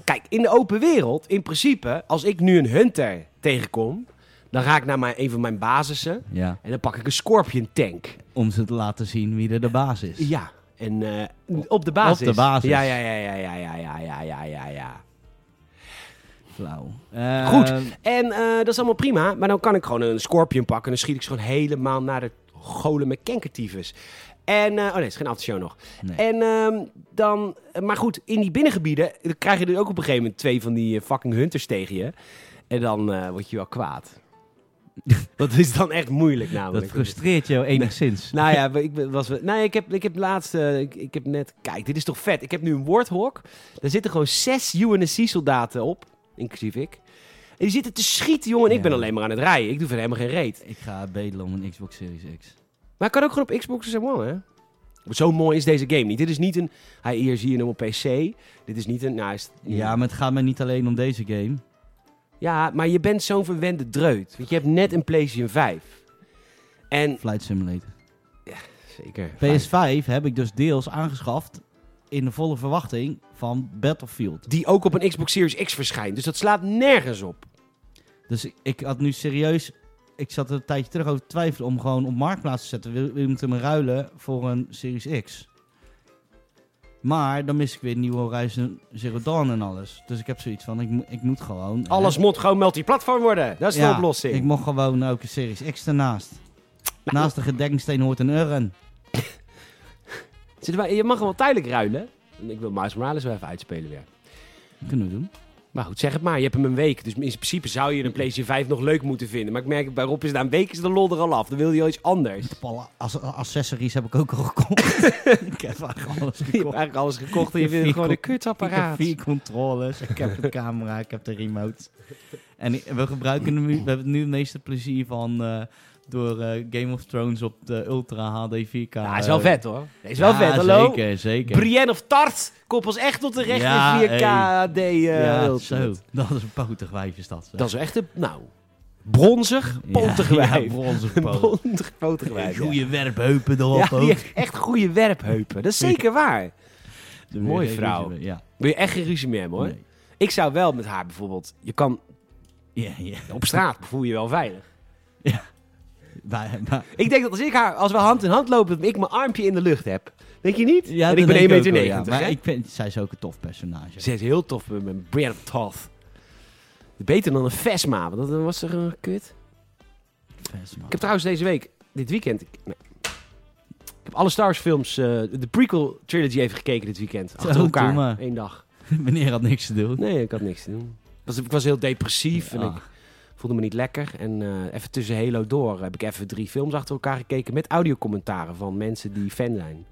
S1: Kijk, in de open wereld, in principe, als ik nu een hunter tegenkom, dan ga ik naar mijn, een van mijn basissen
S2: Ja.
S1: en dan pak ik een Scorpion tank.
S2: Om ze te laten zien wie er de baas is.
S1: Ja, en eh, op de basis.
S2: Op de basis.
S1: Ja, ja, ja, ja, ja, ja, ja, ja, ja, ja, ja.
S2: Flauw. Eh,
S1: Goed. En eh, dat is allemaal prima, maar dan kan ik gewoon een Scorpion pakken en dan schiet ik ze gewoon helemaal naar de golen met kenkertyfus. En, eh, oh nee, het is geen aftershow nog.
S2: Nee.
S1: En ehm, dan, maar goed, in die binnengebieden dan krijg je dus ook op een gegeven moment twee van die eh, fucking hunters tegen je. En dan eh, word je wel kwaad. dat is dan echt moeilijk
S2: dat
S1: namelijk.
S2: frustreert jou enigszins.
S1: Nou ja, ik ben- was, wel- nou, ja, ik, heb, ik heb laatst, eh, ik, ik heb net, kijk, dit is toch vet. Ik heb nu een woordhok. Daar zitten gewoon zes UNSC-soldaten op, inclusief ik. En die zitten te schieten, jongen. En ik
S2: Ja.
S1: ben alleen maar aan het rijden. Ik doe verder helemaal geen reet.
S2: Ik ga bedelen om een Xbox Series X.
S1: Maar ik kan ook gewoon op Xbox Series One, hè? Zo mooi is deze game niet. Dit is niet een... Hij, hier zie je hem op PC. Dit is niet een... Nou, hij is,
S2: Ja, maar het gaat mij niet alleen om deze game.
S1: Ja, maar je bent zo'n verwende dreut. Want je hebt net een PlayStation 5. En...
S2: Flight Simulator.
S1: Zeker.
S2: PS5 heb ik dus deels aangeschaft in de volle verwachting van Battlefield.
S1: Die ook op een Xbox Series X verschijnt. Dus dat slaat nergens op.
S2: Dus ik, ik had nu serieus... Ik zat er een tijdje terug over te twijfelen om gewoon op Marktplaats te zetten. Wil, wil iemand hem ruilen voor een Series X? Maar dan mis ik weer Nieuw Horizon Zero Dawn en alles. Dus ik heb zoiets van, ik, mo- ik moet gewoon...
S1: Alles moet gewoon multiplatform worden. Dat is de
S2: Ja,
S1: oplossing.
S2: Ik mocht gewoon ook een Series X ernaast.
S1: Nou,
S2: Naast de gedekkingsteen hoort een urn.
S1: zitten wij- Je mag hem wel tijdelijk ruilen. Ik wil Miles Morales wel even uitspelen weer.
S2: Kunnen we doen.
S1: Maar goed, zeg het maar. Je hebt hem een week. Dus in principe zou je een PlayStation 5 nog leuk moeten vinden. Maar ik merk, bij Rob is na een week is de lol er al af. Dan wil hij al iets anders.
S2: Ik heb alle as- accessories heb ik ook al gekocht. ik heb eigenlijk alles
S1: Je hebt
S2: gekocht.
S1: eigenlijk alles gekocht en je vindt het gewoon een kutapparaat.
S2: Ik heb vier controllers, ik heb de camera, ik heb de remote. En ik- we gebruiken hem nu, we hebben het nu het meeste plezier van eh, door eh, Game of Thrones op de Ultra HD 4K.
S1: Ja, is wel
S2: eh,
S1: vet hoor. Is wel
S2: ja,
S1: vet, hallo.
S2: Zeker, zeker.
S1: Brienne of Tart koppels echt tot de rechter
S2: Ja,
S1: 4K D. eh,
S2: ja,
S1: Ultimate.
S2: zo. Dat is een potig wijf is dat. zeg.
S1: Dat is echt een, nou, bronzig, potig
S2: ja,
S1: wijf.
S2: Ja, bronzen potig.
S1: Bronzig, potig wijf, ja.
S2: Goeie werpheupen erop
S1: Ja,
S2: ook.
S1: die heeft echt goede werpheupen. Dat is zeker waar.
S2: De
S1: mooie
S2: weer-
S1: vrouw.
S2: Ja.
S1: Wil je echt geen ruzie meer hebben, hoor.
S2: Nee.
S1: Ik zou wel met haar bijvoorbeeld... Je kan
S2: Ja, ja.
S1: op straat voel je je wel veilig.
S2: Maar, maar,
S1: Ik denk dat als ik haar, als we hand in hand lopen, dat ik mijn armpje in de lucht heb. Denk je niet?
S2: ja,
S1: en ik
S2: dat
S1: ben 1,90
S2: denk
S1: meter.
S2: ook wel, ja. Maar ik vind, zij is ook een tof personage.
S1: Ze is heel tof met mijn Brienne of Tarth. Beter dan een Vesma, want dat was er een kut.
S2: Vest, man.
S1: Ik heb trouwens deze week, dit weekend... Ik, nee. ik heb alle Star Wars films, eh, de prequel trilogy even gekeken dit weekend. Achter
S2: Zo, doe
S1: elkaar,
S2: maar.
S1: één dag.
S2: Meneer had niks te doen.
S1: Nee, ik had niks te doen. Ik was, ik was heel depressief en ik
S2: Ah,
S1: voelde me niet lekker. En eh, even tussen Halo door heb ik even drie films achter elkaar gekeken... met audiocommentaren van mensen die fan zijn.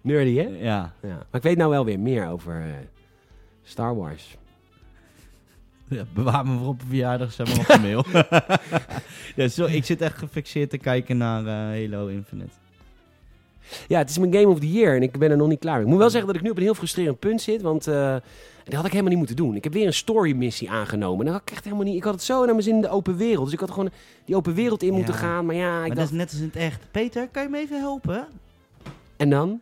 S1: Nerdy, hè?
S2: ja,
S1: Ja. Maar ik weet nou wel weer meer over eh, Star Wars.
S2: Ja, bewaar me voor op een verjaardag, zeg maar op de mail. ja, zo, ik zit echt gefixeerd te kijken naar eh, Halo Infinite.
S1: Ja, het is mijn Game of the Year en ik ben er nog niet klaar mee. Ik moet wel zeggen dat ik nu op een heel frustrerend punt zit, want eh dat had ik helemaal niet moeten doen. Ik heb weer een story-missie aangenomen. Dat had ik echt helemaal niet. Ik had het zo naar mijn zin in de open wereld. Dus ik had gewoon die open wereld in
S2: Ja.
S1: moeten gaan. Maar ja, ik
S2: Maar dat
S1: dacht-
S2: is net als in het echt. Peter, kan je me even helpen?
S1: en dan?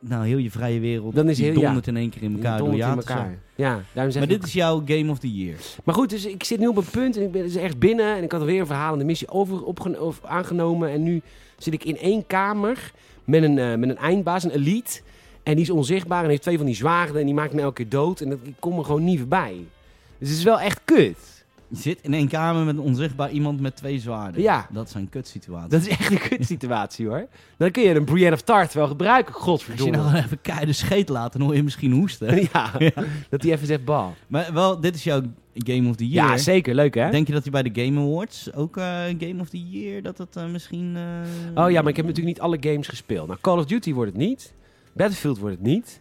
S2: Nou, heel je vrije wereld.
S1: Dan is
S2: die
S1: heel- ja.
S2: dondert in één keer in elkaar. door
S1: Dondert
S2: je
S1: in
S2: aan te
S1: elkaar.
S2: zakken.
S1: Ja, daarom zeg
S2: Maar
S1: ik-
S2: dit is jouw Game of the Year.
S1: Maar goed, dus ik zit nu op een punt en ik ben dus echt binnen. En ik had weer een verhalende missie over, opgen- of aangenomen. En nu zit ik in één kamer met een, eh, met een eindbaas, een elite. En die is onzichtbaar en heeft twee van die zwaarden. En die maakt me elke keer dood. En dat, ik kom er gewoon niet voorbij. Dus het is wel echt kut.
S2: Je zit in één kamer met een onzichtbaar iemand met twee zwaarden.
S1: Ja.
S2: Dat zijn kutsituaties.
S1: Dat is echt een kutsituatie hoor. Dan kun je een Brienne of Tart wel gebruiken,
S2: Als je
S1: godverdomme.
S2: nou gewoon even keiharde scheet laat, dan hoor je misschien hoesten.
S1: ja, dat hij even zegt bal.
S2: Maar wel, dit is jouw Game of the Year.
S1: Ja, zeker. Leuk hè?
S2: Denk je dat hij bij de Game Awards ook eh, Game of the Year, dat dat eh, misschien... eh,
S1: Oh ja, maar ik heb natuurlijk niet alle games gespeeld. Nou, Call of Duty wordt het niet. Battlefield wordt het niet.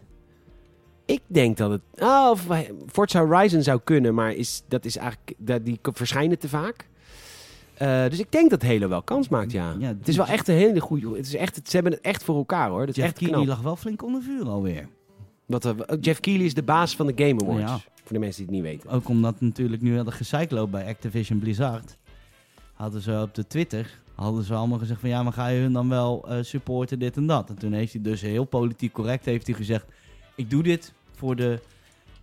S1: Ik denk dat het... Oh, of Forza Horizon zou kunnen, maar is, dat is eigenlijk, dat, die verschijnen te vaak. Eh, dus ik denk dat Halo wel kans maakt, ja.
S2: Ja,
S1: het is wel echt een hele goede... Het is echt, ze hebben het echt voor elkaar, hoor. Dat is
S2: Jeff
S1: echt
S2: Keighley
S1: knap.
S2: lag wel flink onder vuur alweer.
S1: Wat, eh, Jeff Keighley is de baas van de Game Awards.
S2: Ja.
S1: Voor de mensen die het niet weten.
S2: Ook omdat natuurlijk nu hadden gecycloop bij Activision Blizzard. Hadden ze op de Twitter, hadden ze allemaal gezegd van ja, maar ga je hun dan wel eh, supporten, dit en dat. En toen heeft hij dus heel politiek correct heeft hij gezegd, ik doe dit voor de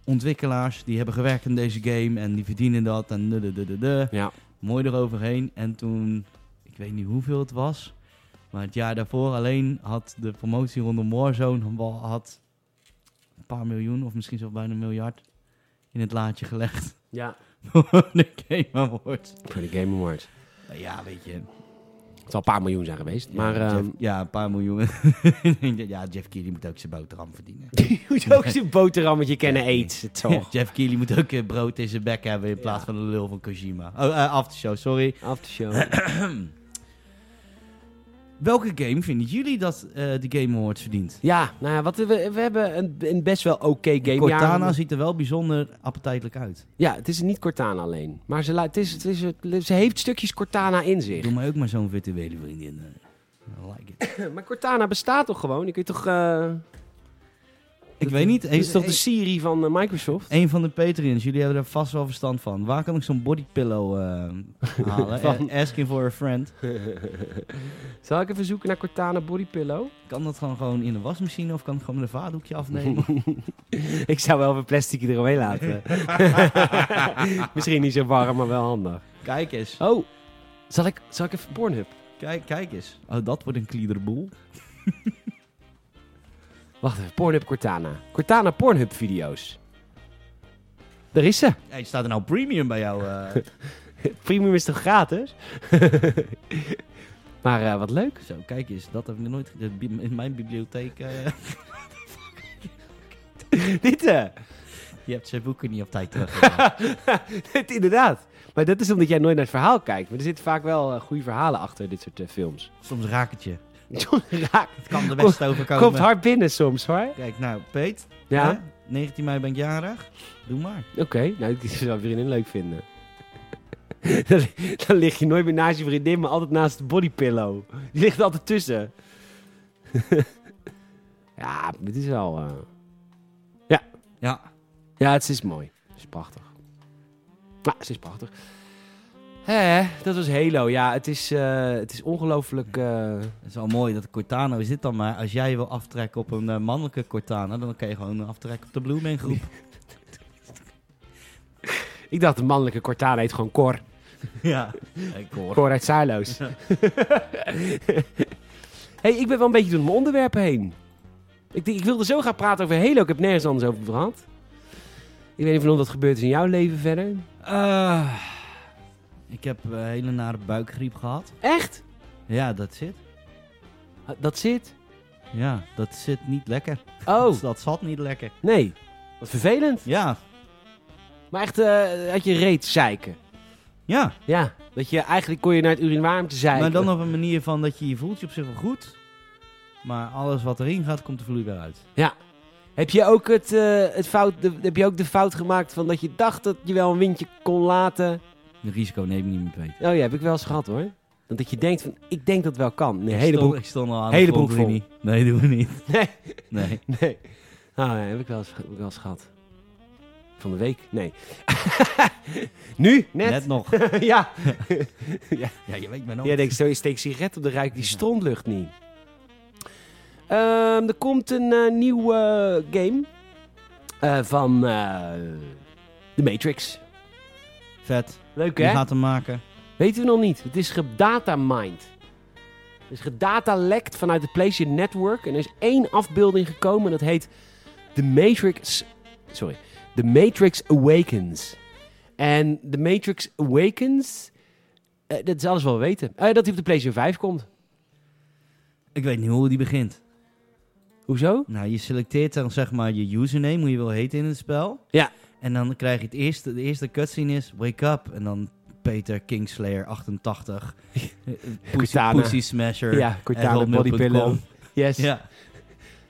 S2: ontwikkelaars die hebben gewerkt aan deze game en die verdienen dat en de de de de de.
S1: Ja.
S2: Mooi eroverheen. En toen, ik weet niet hoeveel het was, maar het jaar daarvoor alleen had de promotie rondom Warzone wel- had een paar miljoen of misschien zelfs bijna een miljard in het laadje gelegd
S1: ja.
S2: voor de Game Awards.
S1: Voor de Game Awards.
S2: Nou ja, weet je.
S1: Het zal een paar miljoen zijn geweest. Maar
S2: ja,
S1: ehm,
S2: Jeff- ja, een paar miljoen. ja, Jeff Keighley moet ook zijn boterham verdienen.
S1: die moet ook zijn boterhammetje kennen eten, toch?
S2: Jeff Keighley moet ook eh, brood in zijn bek hebben in plaats van een lul van Kojima. Oh, eh, aftershow, sorry.
S1: Aftershow.
S2: Welke game vinden jullie dat eh, de Game Awards verdient?
S1: Ja, nou ja, wat, we, we hebben een, een best wel oké game.
S2: Cortana
S1: Ja,
S2: ziet er wel bijzonder appetijtelijk uit.
S1: ja, het is niet Cortana alleen. Maar ze, la- het is, het is, ze heeft stukjes Cortana in zich.
S2: Doe mij ook maar zo'n virtuele vriendin. eh. I like it.
S1: Maar Cortana bestaat toch gewoon? Je kunt toch... eh
S2: Ik weet niet.
S1: het is toch de
S2: een-
S1: Siri van eh, Microsoft?
S2: Een van de Patreons, jullie hebben daar vast wel verstand van. Waar kan ik zo'n bodypillow eh halen?
S1: Van-
S2: Eh, Asking for a friend.
S1: Zal ik even zoeken naar Cortana Body Pillow?
S2: Kan dat gewoon, gewoon in de wasmachine of kan ik gewoon met een vaatdoekje afnemen?
S1: Ik zou wel even plastic eromheen laten. Misschien niet zo warm, maar wel handig.
S2: kijk eens.
S1: Oh, zal ik, zal ik even Pornhub?
S2: Kijk, kijk eens. Oh, dat wordt een kliederboel.
S1: Wacht even, Pornhub Cortana. Cortana Pornhub video's. Daar is ze.
S2: Hey, staat er nou premium bij jou? eh?
S1: Premium is toch gratis? maar eh, wat leuk.
S2: Zo, kijk eens. Dat heb ik nog nooit... ge- dat bi- In mijn bibliotheek... eh,
S1: Dit, eh.
S2: je hebt zijn boeken niet op tijd terug.
S1: dit, inderdaad. Maar dat is omdat jij nooit naar het verhaal kijkt. Maar er zitten vaak wel eh, goede verhalen achter dit soort eh, films.
S2: Soms raak het je.
S1: John raak,
S2: Het kan de beste overkomen.
S1: komt hard binnen soms hoor.
S2: Kijk, nou, Peet.
S1: Ja,
S2: hè? 19 mei ben ik jarig. Doe maar.
S1: oké. Nou, ik zou mijn vriendin leuk vinden. dan, dan lig je nooit meer naast je vriendin, maar altijd naast de bodypillow. Die ligt er altijd tussen. ja, dit is wel... eh,
S2: Ja.
S1: Ja, het is mooi. Het is prachtig. Ja, het is prachtig. Hè, dat was Halo. Ja, het is, eh, het is ongelooflijk... eh,
S2: Het is wel mooi dat Cortana is dit dan maar. Als jij wil aftrekken op een eh, mannelijke Cortana, dan kan je gewoon aftrekken op de Blue Man groep.
S1: Ik dacht, de mannelijke Cortana heet gewoon Cor.
S2: ja, ik hoor.
S1: Cor uit Zuiloos. hey, ik ben wel een beetje door mijn onderwerpen heen. Ik, denk- ik wilde zo gaan praten over Halo. Ik heb nergens anders over gehad. Ik weet niet of dat gebeurd is in jouw leven verder.
S2: Ah, ik heb een hele nare buikgriep gehad.
S1: Echt?
S2: Ja, dat zit.
S1: Dat zit?
S2: Ja, dat zit niet lekker.
S1: Oh,
S2: Dus dat zat niet lekker.
S1: nee. Wat vervelend.
S2: Ja,
S1: Maar echt, eh had je reet zeiken.
S2: ja.
S1: Ja, dat je eigenlijk kon je naar het urinoir om te zeiken.
S2: Maar dan op een manier van dat je je voelt je op zich wel goed. Maar alles wat erin gaat, komt er vloeibaar uit.
S1: Heb je ook het, eh, het fout, de, heb je ook de fout gemaakt van dat je dacht dat je wel een windje kon laten?
S2: De risico neem ik niet meer Peet.
S1: Oh ja, heb ik wel eens gehad hoor. Dat, dat je denkt van, ik denk dat wel kan. Nee,
S2: Ik
S1: heleboel.
S2: stond- Ik stond al aan
S1: hele
S2: de
S1: broek
S2: frontlinie. Nee, doen we niet.
S1: Nee,
S2: Nee.
S1: nee. Oh nee, heb ik wel eens, heb ik wel eens gehad. Van de week? Nee. nu? Net?
S2: Net nog.
S1: ja.
S2: Ja, je weet maar nooit.
S1: Jij denkt, zo, je steekt sigaret op, dan ruikt die strontlucht niet. Ehm, er komt een eh, nieuwe eh, game eh, van eh, The Matrix.
S2: Vet.
S1: Leuk
S2: Wie
S1: hè?
S2: gaat hem maken?
S1: Weten we nog niet. Het is gedatamined. Het is gedatalekt vanuit het PlayStation Network. En er is één afbeelding gekomen. En dat heet The Matrix... Sorry. The Matrix Awakens. En The Matrix Awakens, eh, dat is alles wel weten. Eh, dat hij op de PlayStation 5 komt.
S2: Ik weet niet hoe die begint.
S1: Hoezo?
S2: Nou, je selecteert dan zeg maar je username, hoe je wil heten in het spel.
S1: Ja.
S2: En dan krijg je het eerste, de eerste cutscene is Wake Up. En dan Peter Kingslayer 88. eh, Pussy,
S1: Cortana.
S2: Pussy Smasher.
S1: Ah, Ja,
S2: at
S1: Cortana
S2: hotmail.com.
S1: bodypillow. Yes. Ja.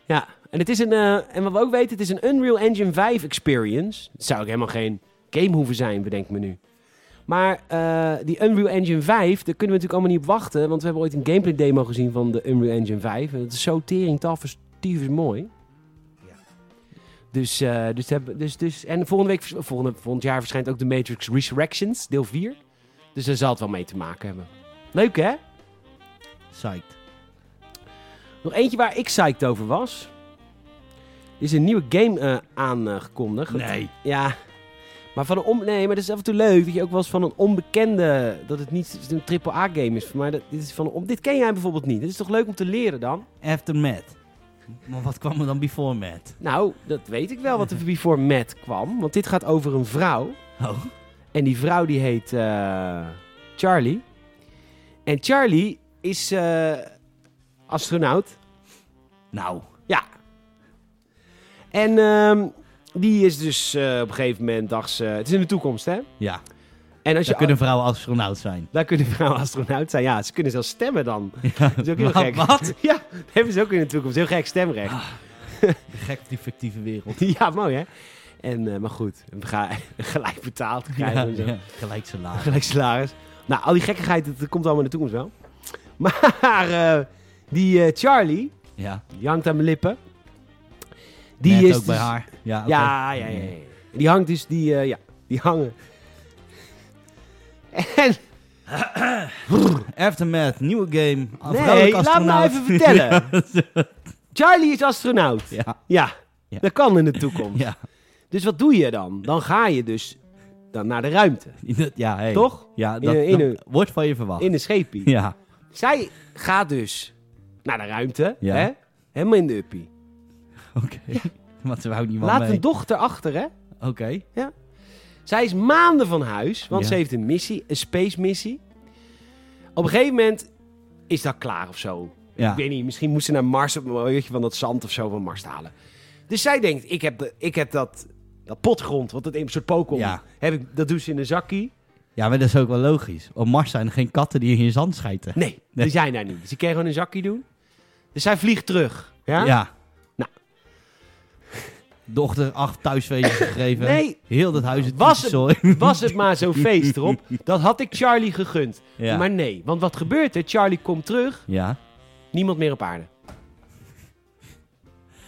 S2: Ja.
S1: En, het is een, eh, en wat we ook weten, het is een Unreal Engine 5 experience. Het zou ook helemaal geen game hoeven zijn, bedenk me nu. Maar eh, die Unreal Engine 5, daar kunnen we natuurlijk allemaal niet op wachten. Want we hebben ooit een gameplay demo gezien van de Unreal Engine 5. En dat is zo tering, taf, is tyfus mooi.
S2: Ja.
S1: Dus, eh, dus, hebben, dus, dus, en volgende week, vers- volgende, volgend jaar verschijnt ook de Matrix Resurrections, deel 4. Dus daar zal het wel mee te maken hebben. Leuk hè?
S2: Psyched.
S1: Nog eentje waar ik psyched over was. Er is een nieuwe game eh, aangekondigd.
S2: Nee.
S1: Ja. Maar van een om... Nee, maar dat is af en toe leuk. Dat je ook wel eens van een onbekende... Dat het niet een AAA game is. Maar dat, dit, is van een on- dit ken jij bijvoorbeeld niet. Dat is toch leuk om te leren dan?
S2: After Matt. Maar wat kwam er dan before Matt?
S1: Nou, dat weet ik wel wat er before Matt kwam. Want dit gaat over een vrouw.
S2: Oh.
S1: En die vrouw die heet eh, Charlie. En Charlie is eh, astronaut.
S2: Nou.
S1: En ehm, die is dus eh, op een gegeven moment, dacht ze, het is in de toekomst, hè?
S2: Ja.
S1: En als
S2: Dan
S1: je,
S2: kunnen vrouwen astronaut zijn.
S1: daar kunnen vrouwen astronaut zijn. Ja, ze kunnen zelfs stemmen dan. Dat is ook heel
S2: Wat-
S1: gek.
S2: Wat?
S1: Ja, dat hebben ze ook in de toekomst. Heel gek stemrecht.
S2: Ah. Gek op die fictieve wereld.
S1: Ja, mooi hè? En, eh, maar goed, we gaan gelijk betaald krijgen. en zo.
S2: Ja, Gelijk salaris.
S1: Gelijk salaris. Nou, al die gekkigheid, dat komt allemaal in de toekomst wel. Maar eh, die eh, Charlie,
S2: Ja.
S1: die hangt aan mijn lippen. Die
S2: Matt
S1: is
S2: ook bij
S1: dus-
S2: haar. Ja, oké.
S1: Ja, ja, ja, ja. Die hangt dus, die, eh, ja, die hangen. En,
S2: Aftermath, nieuwe game. Een
S1: nee,
S2: vrouwelijke
S1: laat me nou
S2: astronaut.
S1: even vertellen. Charlie is astronaut. Ja.
S2: ja, Ja.
S1: dat kan in de toekomst.
S2: ja,
S1: Dus wat doe je dan? Dan ga je dus dan naar de ruimte,
S2: ja. ja hey.
S1: toch?
S2: Ja,
S1: In
S2: dat,
S1: een- in
S2: dat
S1: een-
S2: wordt van je verwacht.
S1: In een scheepje.
S2: Ja.
S1: Zij gaat dus naar de ruimte,
S2: Ja.
S1: hè? Helemaal in de uppie.
S2: Oké. Want ze houdt niemand
S1: Laat
S2: mee.
S1: een dochter achter, hè?
S2: Oké.
S1: Zij is maanden van huis, want
S2: Ja.
S1: ze heeft een missie, een space missie. Op een gegeven moment is dat klaar of zo.
S2: Ja.
S1: Ik weet niet, misschien moest ze naar Mars op een beetje van dat zand of zo van Mars te halen. Dus zij denkt, ik heb, de, ik heb dat, dat potgrond, wat het een soort Pokémon,
S2: Ja.
S1: heb ik, dat doet ze in een zakkie.
S2: ja, maar dat is ook wel logisch. Op Mars zijn er geen katten die in je zand schijten.
S1: Nee, die zijn daar niet. Dus ik kan gewoon een zakkie doen. Dus zij vliegt terug. Ja?
S2: Ja.
S1: Nou.
S2: Dochter acht thuisfeestjes gegeven.
S1: Nee.
S2: Heel dat huis is
S1: Was
S2: het
S1: het-
S2: zooi.
S1: Was het maar zo'n feest erop. Dat had ik Charlie gegund.
S2: Ja.
S1: Maar nee, want wat gebeurt er? Charlie komt terug,
S2: ja.
S1: niemand meer op aarde.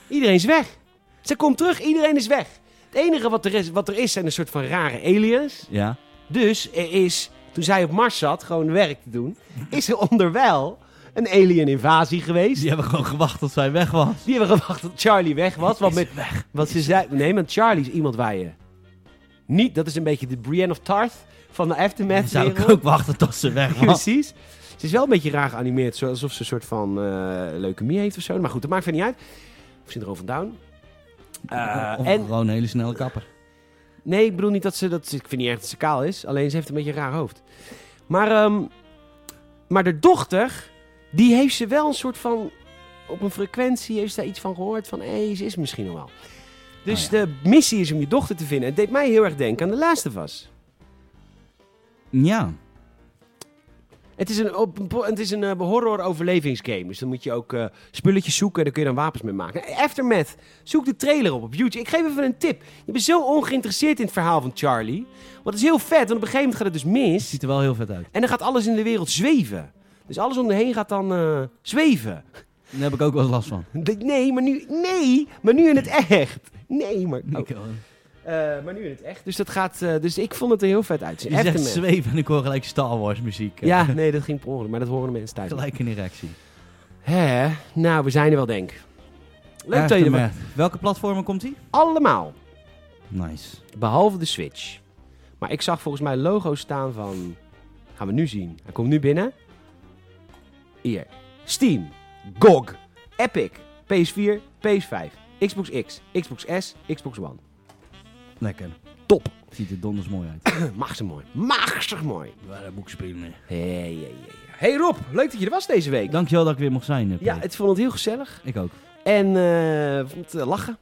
S1: Iedereen is weg. Ze komt terug, iedereen is weg. Het enige wat er is, wat er is zijn een soort van rare aliens.
S2: Ja.
S1: Dus er is, toen zij op Mars zat, gewoon werk te doen, is er onderwijl een alien-invasie geweest.
S2: Die hebben gewoon gewacht tot zij weg was.
S1: Die hebben gewacht tot Charlie weg was. Want
S2: Is
S1: met, wat ze zei, nee, want Charlie is iemand waar je niet, dat is een beetje de Brienne of Tarth van de
S2: Dan
S1: Aftermath.
S2: zou ik
S1: wereld.
S2: ook wachten tot ze weg was.
S1: Precies. Ze is wel een beetje raar geanimeerd, zo- alsof ze een soort van eh, leukemie heeft of zo. Maar goed, dat maakt verder niet uit. Of syndroom van Down. Eh,
S2: of
S1: en
S2: gewoon een hele snelle kapper.
S1: Nee, ik bedoel niet dat ze dat. Ik vind niet echt dat ze kaal is. Alleen ze heeft een beetje een raar hoofd. Maar, ehm, maar de dochter, die heeft ze wel een soort van. Op een frequentie heeft ze daar iets van gehoord. Van hé, ze is misschien nog wel. Dus
S2: Oh ja.
S1: de missie is om je dochter te vinden. Het deed mij heel erg denken aan de laatste was.
S2: Ja.
S1: Het is een, op, een po- het is een eh, horror-overlevingsgame. Dus dan moet je ook eh, spulletjes zoeken. en Daar kun je dan wapens mee maken. Eh, Aftermath. Zoek de trailer op op YouTube. Ik geef even een tip. Je bent zo ongeïnteresseerd in het verhaal van Charlie. Want het is heel vet. Want op een gegeven moment gaat het dus mis.
S2: Ziet er wel heel vet uit.
S1: En dan gaat alles in de wereld zweven. Dus alles om de heen gaat dan eh, zweven.
S2: Daar heb ik ook wel eens last van.
S1: De- nee, maar nu, nee, maar nu in het echt. Nee, maar, oh.
S2: Ik, eh,
S1: Eh, maar nu in het echt. Dus dat gaat. eh, dus ik vond het er heel vet uitzien.
S2: je zegt
S1: Aftermath.
S2: zweven en ik hoor gelijk Star Wars muziek. eh,
S1: Ja, nee, dat ging per ongeluk, maar dat horen de mensen thuis.
S2: Gelijk in erectie.
S1: Hè? Nou, we zijn er wel, denk ik. Leuk dat je er was.
S2: Aftermath. Welke platformen komt die?
S1: Allemaal.
S2: Nice.
S1: Behalve de Switch. Maar ik zag volgens mij een logo staan van... Gaan we nu zien. Hij komt nu binnen. Hier. Steam. GOG. Epic. PS4. PS5. Xbox X. Xbox S. Xbox One.
S2: Lekker.
S1: Top.
S2: Het ziet er donders mooi uit.
S1: Machtig mooi. Machtig mooi.
S2: Waar een boek spelen.
S1: Hé, hé, hé, hé. Hey Rob, leuk dat je er was deze week.
S2: Dankjewel dat ik weer mocht zijn. eh, Peter.
S1: Ja, het vond het heel gezellig.
S2: Ik ook.
S1: En eh vond het eh, lachen.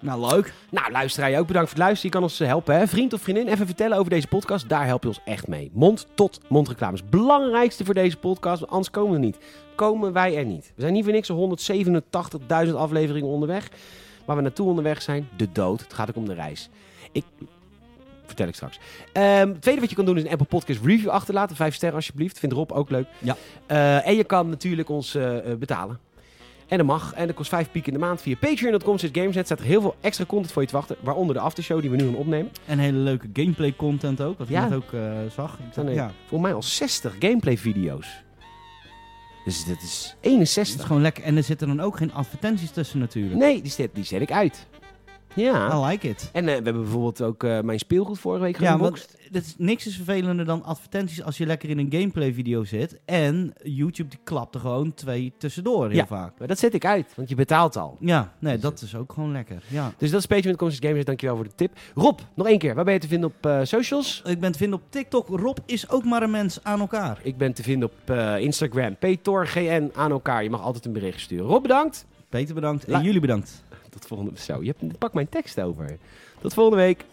S2: Nou, leuk.
S1: Nou, luisteraar, je ook bedankt voor het luisteren. Je kan ons eh, helpen, hè? vriend of vriendin. Even vertellen over deze podcast. Daar help je ons echt mee. Mond tot mond reclame is het belangrijkste voor deze podcast. want Anders komen we er niet. Komen wij er niet. We zijn niet voor niks al 187.000 afleveringen onderweg. Waar we naartoe onderweg zijn, de dood. Het gaat ook om de reis. Ik... Vertel ik straks. Ehm, het tweede wat je kan doen is een Apple Podcast review achterlaten. Vijf sterren alsjeblieft. Vindt Rob ook leuk.
S2: Ja.
S1: Eh, en je kan natuurlijk ons eh, eh, betalen. En dat mag. En dat kost 5 piek in de maand via patreon.com. Zit Gameset staat er heel veel extra content voor je te wachten. Waaronder de aftershow die we nu gaan opnemen.
S2: En hele leuke gameplay content ook. Wat ik
S1: Ja.
S2: net ook eh, zag. Ik
S1: Dan
S2: dacht,
S1: nee,
S2: ja,
S1: Volgens mij al 60 gameplay video's. Dus dat is
S2: het is
S1: 61.
S2: gewoon lekker. En er zitten dan ook geen advertenties tussen natuurlijk.
S1: Nee, die zet, die zet ik uit. Ja.
S2: I like it.
S1: En eh, we hebben bijvoorbeeld ook eh, mijn speelgoed vorige week
S2: Oh. Ja,
S1: geboxt.
S2: want dat is, niks is vervelender dan advertenties als je lekker in een gameplay video zit. En YouTube die klapt er gewoon twee tussendoor heel
S1: Ja.
S2: vaak.
S1: Maar dat zet ik uit, want je betaalt al.
S2: Ja, nee,
S1: Dus
S2: dat is ook gewoon lekker. Ja.
S1: Dus dat is patreon.com. Zit Gameset. Dankjewel voor de tip. Rob, nog één keer. Waar ben je te vinden op eh, socials?
S2: Ik ben te vinden op TikTok. Rob is ook maar een mens aan elkaar.
S1: Ik ben te vinden op eh, Instagram. PetorGN aan elkaar. Je mag altijd een bericht sturen. Rob, bedankt.
S2: Peter bedankt en
S1: La-
S2: jullie bedankt.
S1: Tot volgende Zo, je hebt, pak mijn tekst over. Tot volgende week.